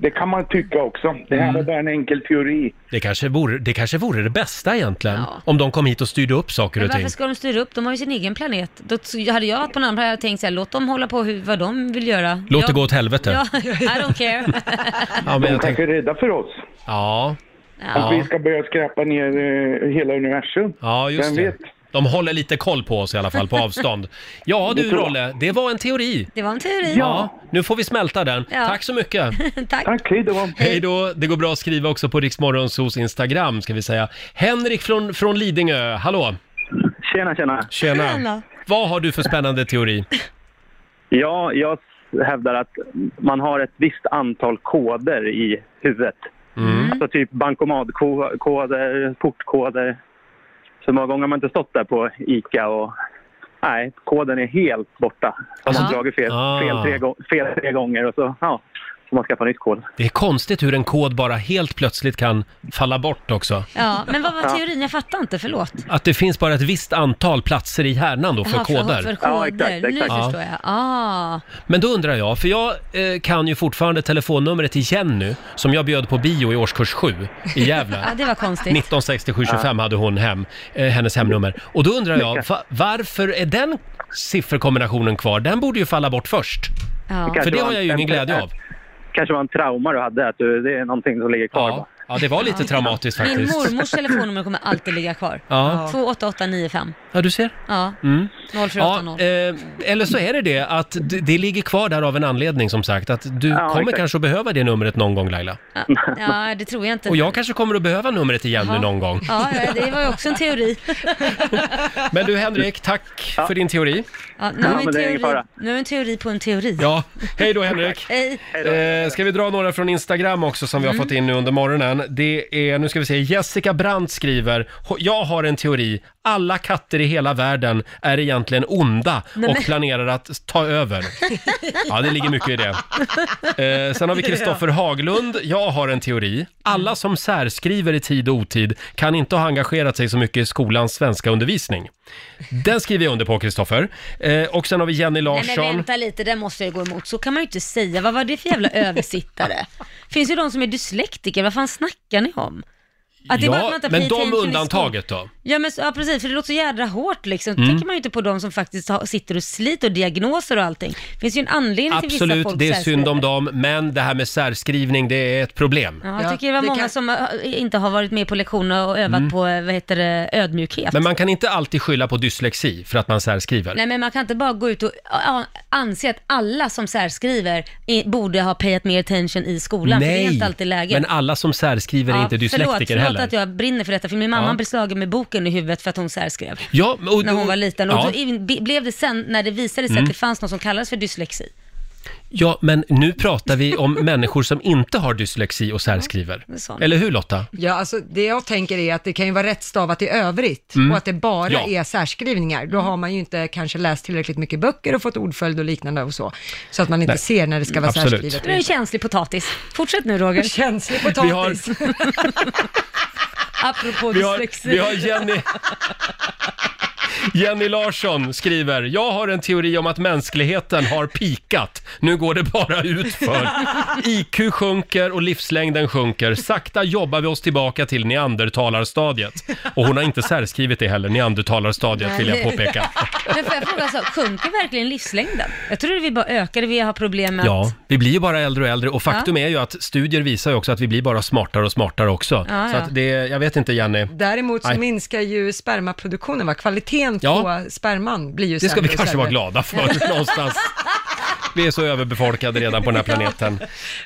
S12: Det kan man tycka också. Det
S1: Mm.
S12: här är bara en enkel teori.
S1: Det kanske vore det, kanske vore det bästa egentligen, om de kom hit och styrde upp saker
S8: Men
S1: och ting.
S8: varför ska de styra upp? De har ju sin egen planet. Då t- hade jag varit på en annan planet hade jag tänkt så här, låt dem hålla på hur, vad de vill göra.
S1: Låt
S8: jag,
S1: det gå åt helvete.
S8: Ja, I don't care.
S1: Ja, men jag
S12: kanske är rädda för oss.
S1: Ja.
S12: Att vi
S1: Ja,
S12: ska börja skräpa ner eh, hela universum.
S1: ja just
S12: Vem
S1: det.
S12: vet?
S1: De håller lite koll på oss i alla fall, på avstånd. Ja
S12: Det
S1: du
S12: tror jag.
S1: Rolle, det var en teori.
S8: Det var en teori.
S1: nu får vi smälta den.
S8: Ja.
S1: Tack så mycket.
S8: Tack.
S12: hej då.
S1: Hej då. Det går bra att skriva också på Riksmorgonsos Instagram ska vi säga. Henrik från, från Lidingö, hallå!
S14: Tjena, tjena.
S1: Tjena. Vad har du för spännande teori?
S14: Ja, jag hävdar att man har ett visst antal koder i huvudet.
S1: Mm.
S14: Alltså typ bankomatkoder, portkoder. Så många gånger har man inte stått där på ICA och nej, koden är helt borta. Har man dragit fel,
S1: Ah.
S14: fel, tre, gång- fel tre gånger och så ja, får man skaffa nytt kod.
S1: Det är konstigt hur en kod bara helt plötsligt kan falla bort också.
S8: Ja, men vad var
S1: Ja.
S8: teorin? Jag fattar inte, förlåt.
S1: Att det finns bara ett visst antal platser i hjärnan då för
S8: Jaha, För,
S1: koder.
S8: för koder. Nu förstår jag. Ah.
S1: Men då undrar jag, för jag eh, kan ju fortfarande telefonnumret till Jenny som jag bjöd på bio i årskurs 7 i Gävle.
S8: Ja, det var konstigt.
S1: 1967-25 hade hon hem, eh, hennes hemnummer. Och då undrar jag, va, varför är den sifferkombinationen kvar? Den borde ju falla bort först.
S14: kanske
S1: För det
S14: var
S1: har
S14: en-
S1: jag ju ingen
S14: en-
S1: glädje av.
S14: kanske var en trauma du hade, att du, det är någonting som ligger kvar.
S1: Ja, ja det var lite traumatiskt
S8: Min
S1: faktiskt.
S8: mormors telefonnummer kommer alltid ligga kvar.
S1: Ja.
S8: 28895.
S1: Ja, du ser.
S8: Ja,
S1: Mm.
S8: 0480.
S1: eh, eller så är det det att det, det ligger kvar där av en anledning som sagt. Att du kommer
S8: exakt.
S1: kanske att behöva det numret någon gång Laila.
S8: Ja, det tror jag inte.
S1: Och jag kanske kommer att behöva numret igen nu
S8: Ja.
S1: någon gång.
S8: Ja, ja, det var ju också en teori.
S1: Men du Henrik, tack för din teori.
S8: Ja, nu, har vi en teori. nu har vi en teori på en teori.
S1: Ja, hej då Henrik.
S8: Hej.
S1: Eh, ska vi dra några från Instagram också som vi har
S8: Mm.
S1: fått in nu under morgonen. Det är, nu ska vi se, Jessica Brandt skriver, "Ho- jag har en teori, alla katter i i hela världen är egentligen onda
S15: Nej, men-
S1: och planerar att ta över. Ja, det ligger mycket i det. Eh, sen har vi Kristoffer Haglund. Jag har en teori. Alla som särskriver i tid och otid kan inte ha engagerat sig så mycket i skolans svenska undervisning. Den skriver jag under på, Kristoffer. Eh, och sen har vi Jenny
S2: Nej men
S1: Larsson.
S2: vänta lite, det måste jag ju gå emot. Så kan man ju inte säga. Vad var det för jävla översittare? Finns ju de som är dyslektiker, vad fan snackar ni om? Att det är bara att man
S1: Ja,
S2: inte har
S1: men
S2: pay attention
S1: de
S2: i skol-
S1: undantaget då?
S2: Ja, men, så- ja precis, för det låter så jädra hårt liksom. Då
S1: Mm.
S2: tänker man ju inte på de som faktiskt har, sitter och sliter och diagnoser och allting. Det finns ju en anledning till vissa
S1: Absolut,
S2: folk
S1: det är
S2: särskriver.
S1: synd om dem, men det här med särskrivning, det är ett problem.
S2: Ja, jag tycker det var många som eh, inte har varit med på lektioner och övat
S1: Mm.
S2: på, eh, vad heter det, ödmjukhet.
S1: Men man kan inte alltid skylla på dyslexi för att man särskriver.
S2: Nej men man kan inte bara gå ut och ja, anse att alla som särskriver i- borde ha payat mer attention i skolan, för det är inte alltid läget.
S1: men alla som särskriver är
S2: Ja,
S1: inte dyslektiker
S2: förlåt, förlåt
S1: heller.
S2: att jag brinner för detta, för min mamma
S1: Ja.
S2: blev slagen med boken i huvudet för att hon särskrev.
S1: Ja, och-
S2: när hon var liten. Och
S1: ja.
S2: då in, be- blev det sen, när det visade sig
S1: Mm.
S2: att det fanns något som kallades för dyslexi.
S1: Ja, men nu pratar vi om människor som inte har dyslexi och särskriver.
S2: är sant.
S1: Eller hur Lotta?
S4: Ja, alltså det jag tänker är att det kan ju vara rättstavat i övrigt
S1: Mm.
S4: och att det bara
S1: Ja.
S4: är särskrivningar. Då har man ju inte kanske läst tillräckligt mycket böcker och fått ordföljd och liknande och så. Så att man inte
S1: Nej.
S4: ser när det ska vara
S1: Absolut.
S4: särskrivet.
S1: Det är en
S2: känslig potatis. Fortsätt nu Roger.
S4: Känslig
S1: Vi har-
S4: potatis.
S2: Apropå
S1: Vi har,
S2: dyslexi.
S1: vi har Jenny... Jenny Larsson skriver, jag har en teori om att mänskligheten har pikat. Nu går det bara utför. IQ sjunker och livslängden sjunker. Sakta jobbar vi oss tillbaka till neandertalarstadiet. Och hon har inte särskrivit det heller, neandertalarstadiet vill jag påpeka.
S2: Men får jag fråga, så, sjunker verkligen livslängden? Jag trodde vi bara ökade, vi har problem med
S1: Ja,
S2: att...
S1: vi blir ju bara äldre och äldre och faktum är ju att studier visar ju också att vi blir bara smartare och smartare också.
S4: Ja,
S1: Så
S4: ja.
S1: att det, jag vet inte Jenny.
S4: Däremot så
S1: Nej.
S4: minskar ju spermaproduktionen, va? kvaliteten
S1: Ja.
S4: på sperman blir ju
S1: Det ska
S4: sämre
S1: vi
S4: och
S1: kanske
S4: sämre.
S1: vara glada för någonstans. Vi är så överbefolkade redan på den här planeten.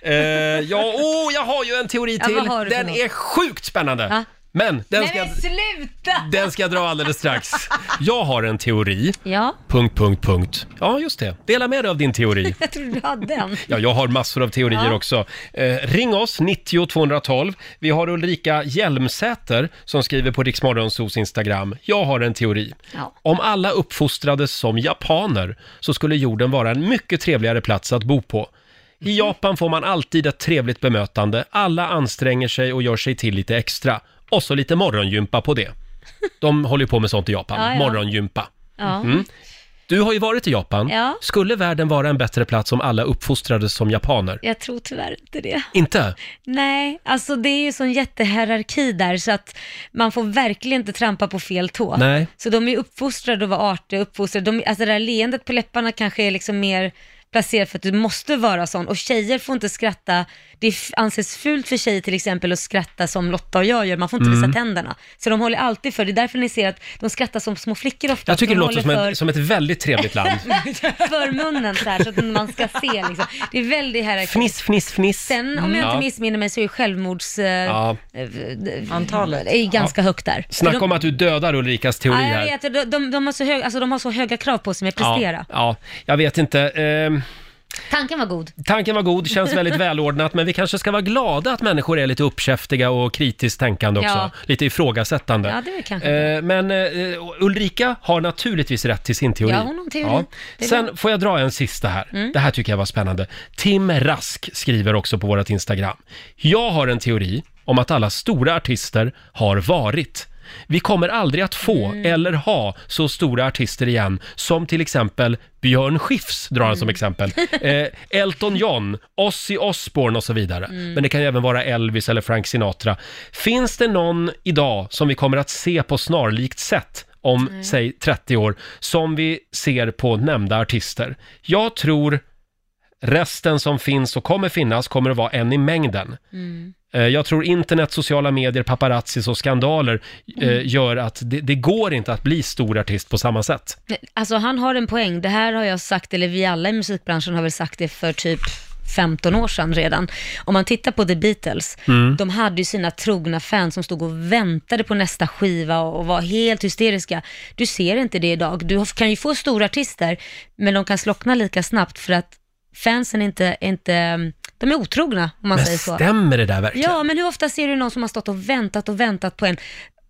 S1: Eh, ja, oh, jag har ju en teori
S15: Ja,
S1: till.
S15: vad har du för
S1: den
S15: något?
S1: är sjukt spännande.
S15: Ja.
S1: Men den
S15: Nej
S1: ska,
S15: men sluta!
S1: den ska jag dra alldeles strax. Jag har en teori.
S2: Ja.
S1: Punkt, punkt, punkt. Ja, just det. Dela med dig av din teori.
S2: Jag trodde du hade den.
S1: Ja, jag har massor av teorier
S2: Ja.
S1: också. Eh, ring oss, 90 212. Vi har Ulrika Hjelmsäter som skriver på Riksmorgonsos Instagram. Jag har en teori.
S2: Ja.
S1: Om alla uppfostrades som japaner så skulle jorden vara en mycket trevligare plats att bo på. I Japan får man alltid ett trevligt bemötande. Alla anstränger sig och gör sig till lite extra. Och så lite morgongympa på det. De håller ju på med sånt i Japan.
S2: Ja, ja.
S1: Morgongympa.
S2: Ja.
S1: Mm. Du har ju varit i Japan.
S2: Ja.
S1: Skulle världen vara en bättre plats om alla uppfostrades som japaner?
S2: Jag tror tyvärr inte det.
S1: Inte?
S2: Nej, alltså det är ju sån jättehierarki där så att man får verkligen inte trampa på fel tå.
S1: Nej.
S2: Så de är uppfostrade att vara artiga, uppfostrade. De, alltså det där leendet på läpparna kanske är liksom mer placerat för att du måste vara sån. Och tjejer får inte skratta, det är f- anses fult för tjejer till exempel att skratta som Lotta och jag gör, man får inte
S1: Mm.
S2: visa tänderna. Så de håller alltid för, det är därför ni ser att de skrattar som små flickor ofta.
S1: Jag tycker
S2: de
S1: det låter
S2: håller
S1: som,
S2: för-
S1: en, som ett väldigt trevligt land.
S2: för munnen så här, så att man ska se liksom. Det är väldigt hierarki.
S1: Fniss, fniss, fniss.
S2: Sen, om jag
S1: Mm.
S2: inte
S1: Ja.
S2: missminner mig, så är självmords... Eh,
S1: Ja.
S2: eh, d-
S4: Antalet.
S2: Är ju ganska högt där.
S1: Snacka
S2: de,
S1: om att du dödar Ulrikas teori
S2: Ja,
S1: här.
S2: jag vet. De, de, de, har så hög, alltså, de har så höga krav på sig med att
S1: Ja,
S2: prestera.
S1: ja, jag vet inte. Ehm,
S2: Tanken var god.
S1: tanken var god, känns väldigt välordnat, men vi kanske ska vara glada att människor är lite uppkäftiga och kritiskt tänkande också.
S2: Ja.
S1: Lite ifrågasättande.
S2: Ja, det är kanske
S1: Eh, Men eh, Ulrika har naturligtvis rätt till sin teori.
S2: Ja, hon har en teori. Det är bra.
S1: Sen får jag dra en sista här.
S2: Mm.
S1: Det här tycker jag var spännande. Tim Rask skriver också på vårt Instagram. Jag har en teori om att alla stora artister har varit. Vi kommer aldrig att få
S2: Mm.
S1: eller ha så stora artister igen som till exempel Björn Skifs drar han som
S2: Mm.
S1: exempel. Eh, Elton John, Ozzy Osbourne och så vidare.
S5: Mm.
S1: Men det kan ju även vara Elvis eller Frank Sinatra. Finns det någon idag som vi kommer att se på snarlikt sätt om,
S5: Nej.
S1: säg 30 år, som vi ser på nämnda artister? Jag tror resten som finns och kommer finnas kommer att vara en i mängden.
S2: Mm.
S1: Eh, Jag tror internet, sociala medier, paparazzis och skandaler eh,
S2: Mm.
S1: gör att det, det går inte att bli stor artist på samma sätt.
S2: Alltså han har en poäng. Det här har jag sagt, eller vi alla i musikbranschen har väl sagt det för typ 15 år sedan redan. Om man tittar på The Beatles,
S3: Mm.
S2: de hade ju sina trogna fans som stod och väntade på nästa skiva och och var helt hysteriska. Du ser inte det idag. Du kan ju få stora artister, men de kan slockna lika snabbt för att fansen inte, inte de är otrogna om man
S1: Men
S2: säger så.
S1: stämmer det där verkligen?
S2: Ja, men hur ofta ser du någon som har stått och väntat och väntat på en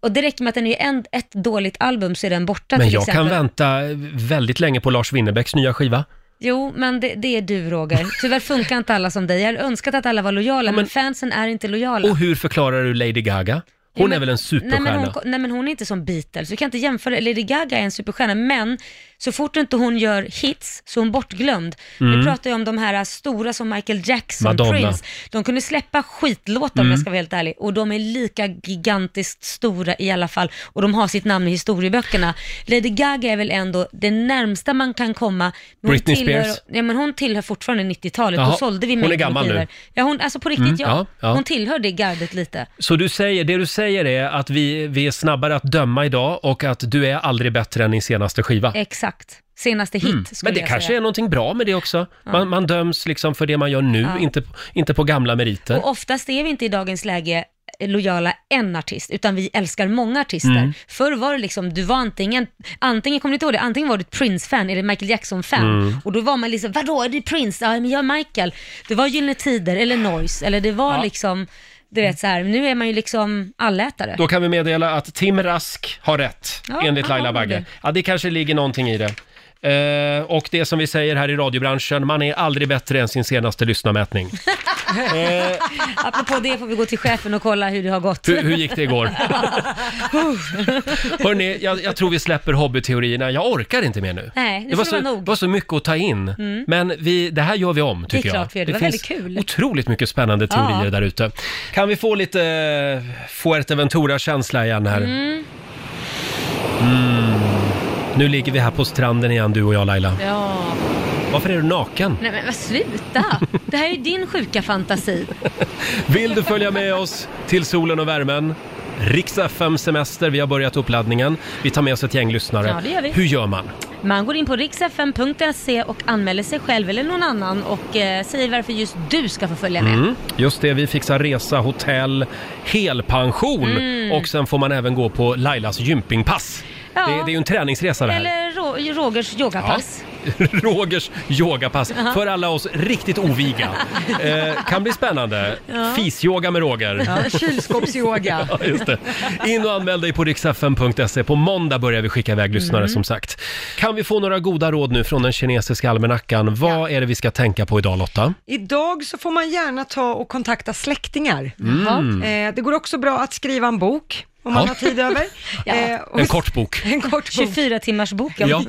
S2: Och det räcker med att den är en, ett dåligt album så är den borta
S1: Men
S2: till
S1: jag
S2: exempel.
S1: kan vänta väldigt länge på Lars Winnerbäcks nya skiva.
S2: Jo, men det, det är du Roger. Tyvärr funkar inte alla som dig. Jag hade önskat att alla var lojala, men, fansen är inte lojala.
S1: Och hur förklarar du Lady Gaga?
S2: Jo,
S1: Hon
S2: men-
S1: är väl en
S2: Nej men,
S1: superstjärna?
S2: hon, nej men hon är inte som Beatles, du kan inte jämföra, Lady Gaga är en superstjärna, men så fort inte hon gör hits så är hon bortglömd. Nu
S1: Mm.
S2: pratar jag om de här äh, stora som Michael Jackson,
S1: Madonna.
S2: Prince. De kunde släppa skitlåtar om
S1: Mm.
S2: jag ska vara helt ärlig, och de är lika gigantiskt stora i alla fall, och de har sitt namn i historieböckerna. Lady Gaga är väl ändå det närmsta man kan komma. Men
S1: Britney
S2: hon tillhör,
S1: Spears.
S2: Ja men hon tillhör fortfarande 90-talet, då
S1: Jaha,
S2: sålde vi
S1: hon
S2: mängder
S1: är
S2: med
S1: gammal nu.
S2: skivor. Ja hon, alltså på riktigt
S1: Mm,
S2: ja.
S1: ja, ja.
S2: Hon tillhör det gardet lite.
S1: Så du säger, det du säger är att vi, vi är snabbare att döma idag och att du är aldrig bättre än din senaste skiva?
S2: Exakt. Senaste hit
S1: Mm.
S2: skulle
S1: Men det
S2: jag
S1: kanske
S2: säga.
S1: är någonting bra med det också.
S2: Ja.
S1: Man, man döms liksom för det man gör nu,
S2: Ja.
S1: inte, inte på gamla meriter.
S2: Och oftast är vi inte i dagens läge lojala en artist, utan vi älskar många artister.
S1: Mm.
S2: Förr var det liksom, du var antingen, antingen kommer du inte ihåg det, antingen var du ett Prince-fan eller Michael Jackson-fan.
S1: Mm.
S2: Och då var man liksom, vadå är du Prince? Ja, men jag är Michael. Det var Gyllene Tider eller Noise, eller det var
S1: Ja.
S2: liksom, du vet så här, nu är man ju liksom allätare.
S1: Då kan vi meddela att Tim Rask har rätt,
S2: Ja,
S1: enligt
S2: han
S1: Laila
S2: har
S1: Bagge.
S2: det.
S1: Ja, det kanske ligger någonting i det. Eh, och det som vi säger här i radiobranschen, man är aldrig bättre än sin senaste lyssnarmätning.
S2: Apropå det får vi gå till chefen och kolla hur det har gått.
S1: Hur, hur gick det igår? Hörni, jag, jag tror vi släpper hobbyteorierna. Jag orkar inte mer nu.
S2: Nej, nu får
S1: var
S2: det
S1: så,
S2: vara nog.
S1: var så mycket att ta in.
S2: Mm.
S1: Men vi, det här gör vi om,
S2: Det är
S1: tycker jag.
S2: klart vi gör. Det var
S1: finns
S2: väldigt kul.
S1: otroligt mycket spännande teorier
S2: Ja.
S1: där ute. Kan vi få lite eh, Fuerteventura-känsla igen här?
S2: Mm.
S1: Mm. Nu ligger vi här på stranden igen, du och jag Laila.
S2: Ja.
S1: Varför är du naken?
S2: Nej men vad- sluta! Det här är ju din sjuka fantasi.
S1: Vill du följa med oss till solen och värmen? Riksa fem semester, vi har börjat uppladdningen. Vi tar med oss ett gäng lyssnare.
S2: Ja, det gör vi.
S1: Hur gör man?
S2: Man går in på riksfm.se och anmäler sig själv eller någon annan och eh, säger varför just du ska få följa med.
S1: Mm, just det, vi fixar resa, hotell, helpension
S2: Mm.
S1: och sen får man även gå på Lailas gympingpass.
S2: Ja.
S1: Det, det är ju en träningsresa det här.
S2: Eller Ro- Rogers yogapass.
S1: Rogers yogapass
S2: Ja.
S1: för alla oss riktigt oviga. Eh, kan bli spännande.
S4: Ja.
S1: Fisyoga med Roger.
S4: Ja, kylskåpsyoga.
S1: Ja, just det. In och anmäl dig på riksfn.se. På måndag börjar vi skicka iväg lyssnare
S2: Mm.
S1: som sagt. Kan vi få några goda råd nu från den kinesiska almanackan? Vad är det vi ska tänka på idag Lotta?
S4: Idag så får man gärna ta och kontakta släktingar.
S1: Mm. Jaha.
S4: Eh, det går också bra att skriva en bok om man
S1: Ja.
S4: har tid över. Eh,
S2: Ja.
S1: En kort bok.
S4: En kort bok.
S2: 24 timmars boken.
S1: Ja.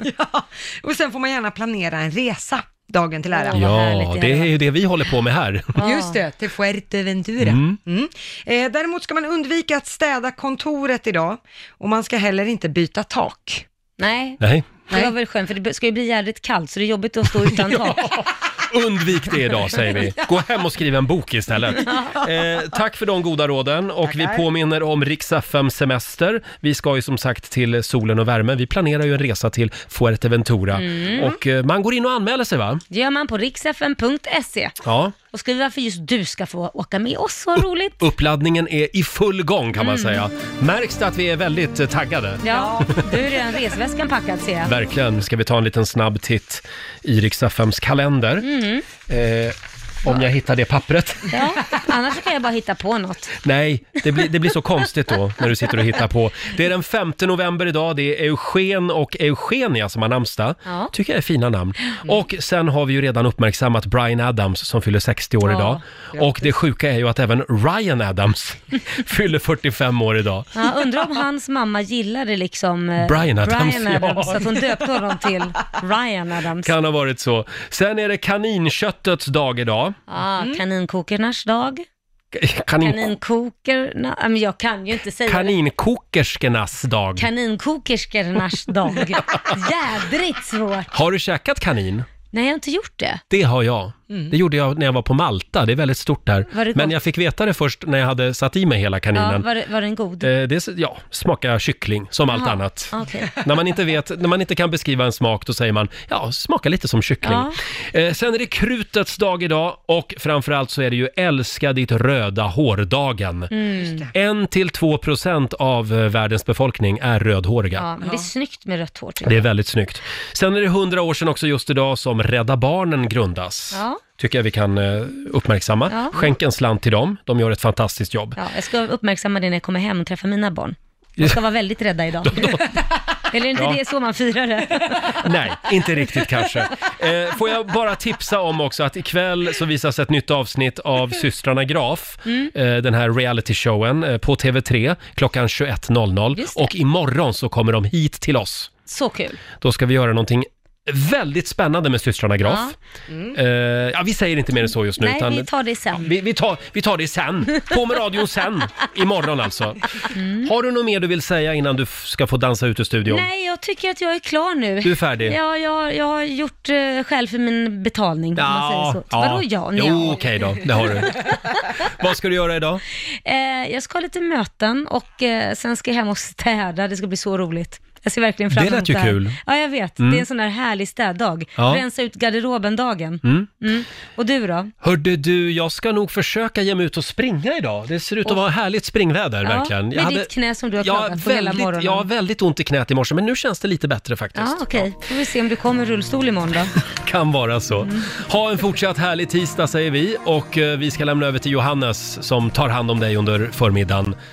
S4: Och sen får man gärna planera en resa dagen till ära.
S1: Ja, det är ju det vi håller på med här.
S4: Just det, till Fuerteventura.
S1: Mm.
S4: Mm. Eh, däremot ska man undvika att städa kontoret idag och man ska heller inte byta tak.
S2: Nej.
S1: Nej.
S2: Det var väl skönt för det ska ju bli jävligt kallt så det är jobbigt att stå utan tak.
S1: Undvik det idag säger vi. Gå hem och skriv en bok istället.
S2: Ja.
S1: Eh, tack för de goda råden och vi
S2: Tackar.
S1: påminner om Rix FM semester. Vi ska ju som sagt till solen och värmen. Vi planerar ju en resa till Fuerteventura
S2: Mm.
S1: och eh, man går in och anmäler sig va?
S2: Det gör man på riksfm.se
S1: Ja.
S2: och skriver varför just du ska få åka med oss, så roligt.
S1: Uppladdningen är i full gång kan man
S2: Mm.
S1: säga. Märks det att vi är väldigt eh, taggade?
S2: Ja, du är redan resväskan packad ser jag.
S1: Verkligen. Ska vi ta en liten snabb titt i Rix FMs kalender?
S2: Mm.
S1: Eh, om jag hittar det pappret.
S2: Ja, annars så kan jag bara hitta på något.
S1: Nej, det blir, det blir så konstigt då när du sitter och hittar på. Det är den 5 november idag, det är Eugen och Eugenia som har namnsdag.
S2: Ja. Mm.
S1: Tycker jag är fina namn. Och sen har vi ju redan uppmärksammat Bryan Adams som fyller 60 år
S2: Ja,
S1: idag. Och det sjuka är ju att även Ryan Adams fyller 45 år idag.
S2: Ja, undrar om hans mamma gillade liksom eh,
S1: Bryan Adams,
S2: Bryan Adams
S1: ja.
S2: så att hon döpte honom till Ryan Adams.
S1: Kan ha varit så. Sen är det kaninköttets dag idag.
S2: Ja, kaninkokernas dag.
S1: Kanin,
S2: Kaninkokerna, ja, men jag kan ju inte säga det.
S1: kaninkokerskernas dag.
S2: Kaninkokerskornas dag. Jädrigt svårt.
S1: Har du käkat kanin?
S2: Nej, jag har inte gjort det.
S1: Det har jag.
S2: Mm.
S1: Det gjorde jag när jag var på Malta, det är väldigt stort där.
S2: Var det
S1: Men
S2: gott?
S1: jag fick veta det först när jag hade satt i mig hela kaninen.
S2: Ja, var, det- var den god?
S1: Eh, Det är- ja, smakar kyckling, som allt
S2: Jaha,
S1: annat.
S2: okej.
S1: När man inte vet, när man inte kan beskriva en smak, då säger man ja, smakar lite som kyckling.
S2: Ja.
S1: Eh, sen är det krutets dag idag och framförallt så är det ju älska ditt röda hår-dagen.
S2: Mm.
S1: En till två procent av eh, världens befolkning är rödhåriga.
S2: Ja, men det är snyggt med rött hår tycker
S1: Det är
S2: jag.
S1: väldigt snyggt. Sen är det hundra år sedan också just idag som Rädda Barnen grundas.
S2: Ja.
S1: Tycker jag vi kan eh, uppmärksamma.
S2: Ja.
S1: Skänk en slant till dem, de gör ett fantastiskt jobb.
S2: Ja, jag ska uppmärksamma det när jag kommer hem och träffar mina barn. De ska vara väldigt rädda idag. Eller är inte
S1: Ja.
S2: det så man firar det?
S1: Nej, inte riktigt kanske. Eh, får jag bara tipsa om också att ikväll så visas ett nytt avsnitt av Systrarna Graf,
S2: Mm.
S1: eh, den här realityshowen, eh, på TV3 klockan 21.00.
S2: Just det.
S1: Och imorgon så kommer de hit till oss.
S2: Så kul.
S1: Då ska vi göra någonting väldigt spännande med Systrarna Graf.
S2: Ja. Mm.
S1: Eh, ja, vi säger inte mer än så just nu.
S2: Nej,
S1: utan
S2: vi tar det sen.
S1: vi, vi, tar, vi tar det sen. På med radion sen. Imorgon alltså. Har du något mer du vill säga innan du f- ska få dansa ut ur studion?
S2: Mm. Nej, jag tycker att jag är klar nu.
S1: Du är färdig?
S2: Ja, jag, jag har gjort uh, skäl för min betalning, om man säger så. Vadå ja?
S1: Jo,
S2: ja.
S1: okej då. Det har du. Vad ska du göra idag?
S2: Eh, jag ska ha lite möten och eh, sen ska jag hem och städa. Det ska bli så roligt. Jag ser verkligen fram
S1: Det
S2: emot
S1: lät
S2: det
S1: ju
S2: här.
S1: kul.
S2: Ja, jag vet.
S1: Mm.
S2: Det är en sån där härlig städdag.
S1: Ja.
S2: Rensa ut garderoben-dagen.
S1: Mm.
S2: Mm. Och du då?
S1: Hörde du, jag ska nog försöka ge mig ut och springa idag. Det ser ut att
S2: Åh.
S1: vara härligt springväder verkligen.
S2: med ditt knä som du har
S1: jag,
S2: klagat på hela morgonen.
S1: jag har väldigt ont i knät i morse, men nu känns det lite bättre faktiskt.
S2: Ja, okej. Får vi se om du kommer i rullstol imorgon då.
S1: Kan vara så.
S2: Mm.
S1: Ha en fortsatt härlig tisdag säger vi och eh, vi ska lämna över till Johannes som tar hand om dig under förmiddagen.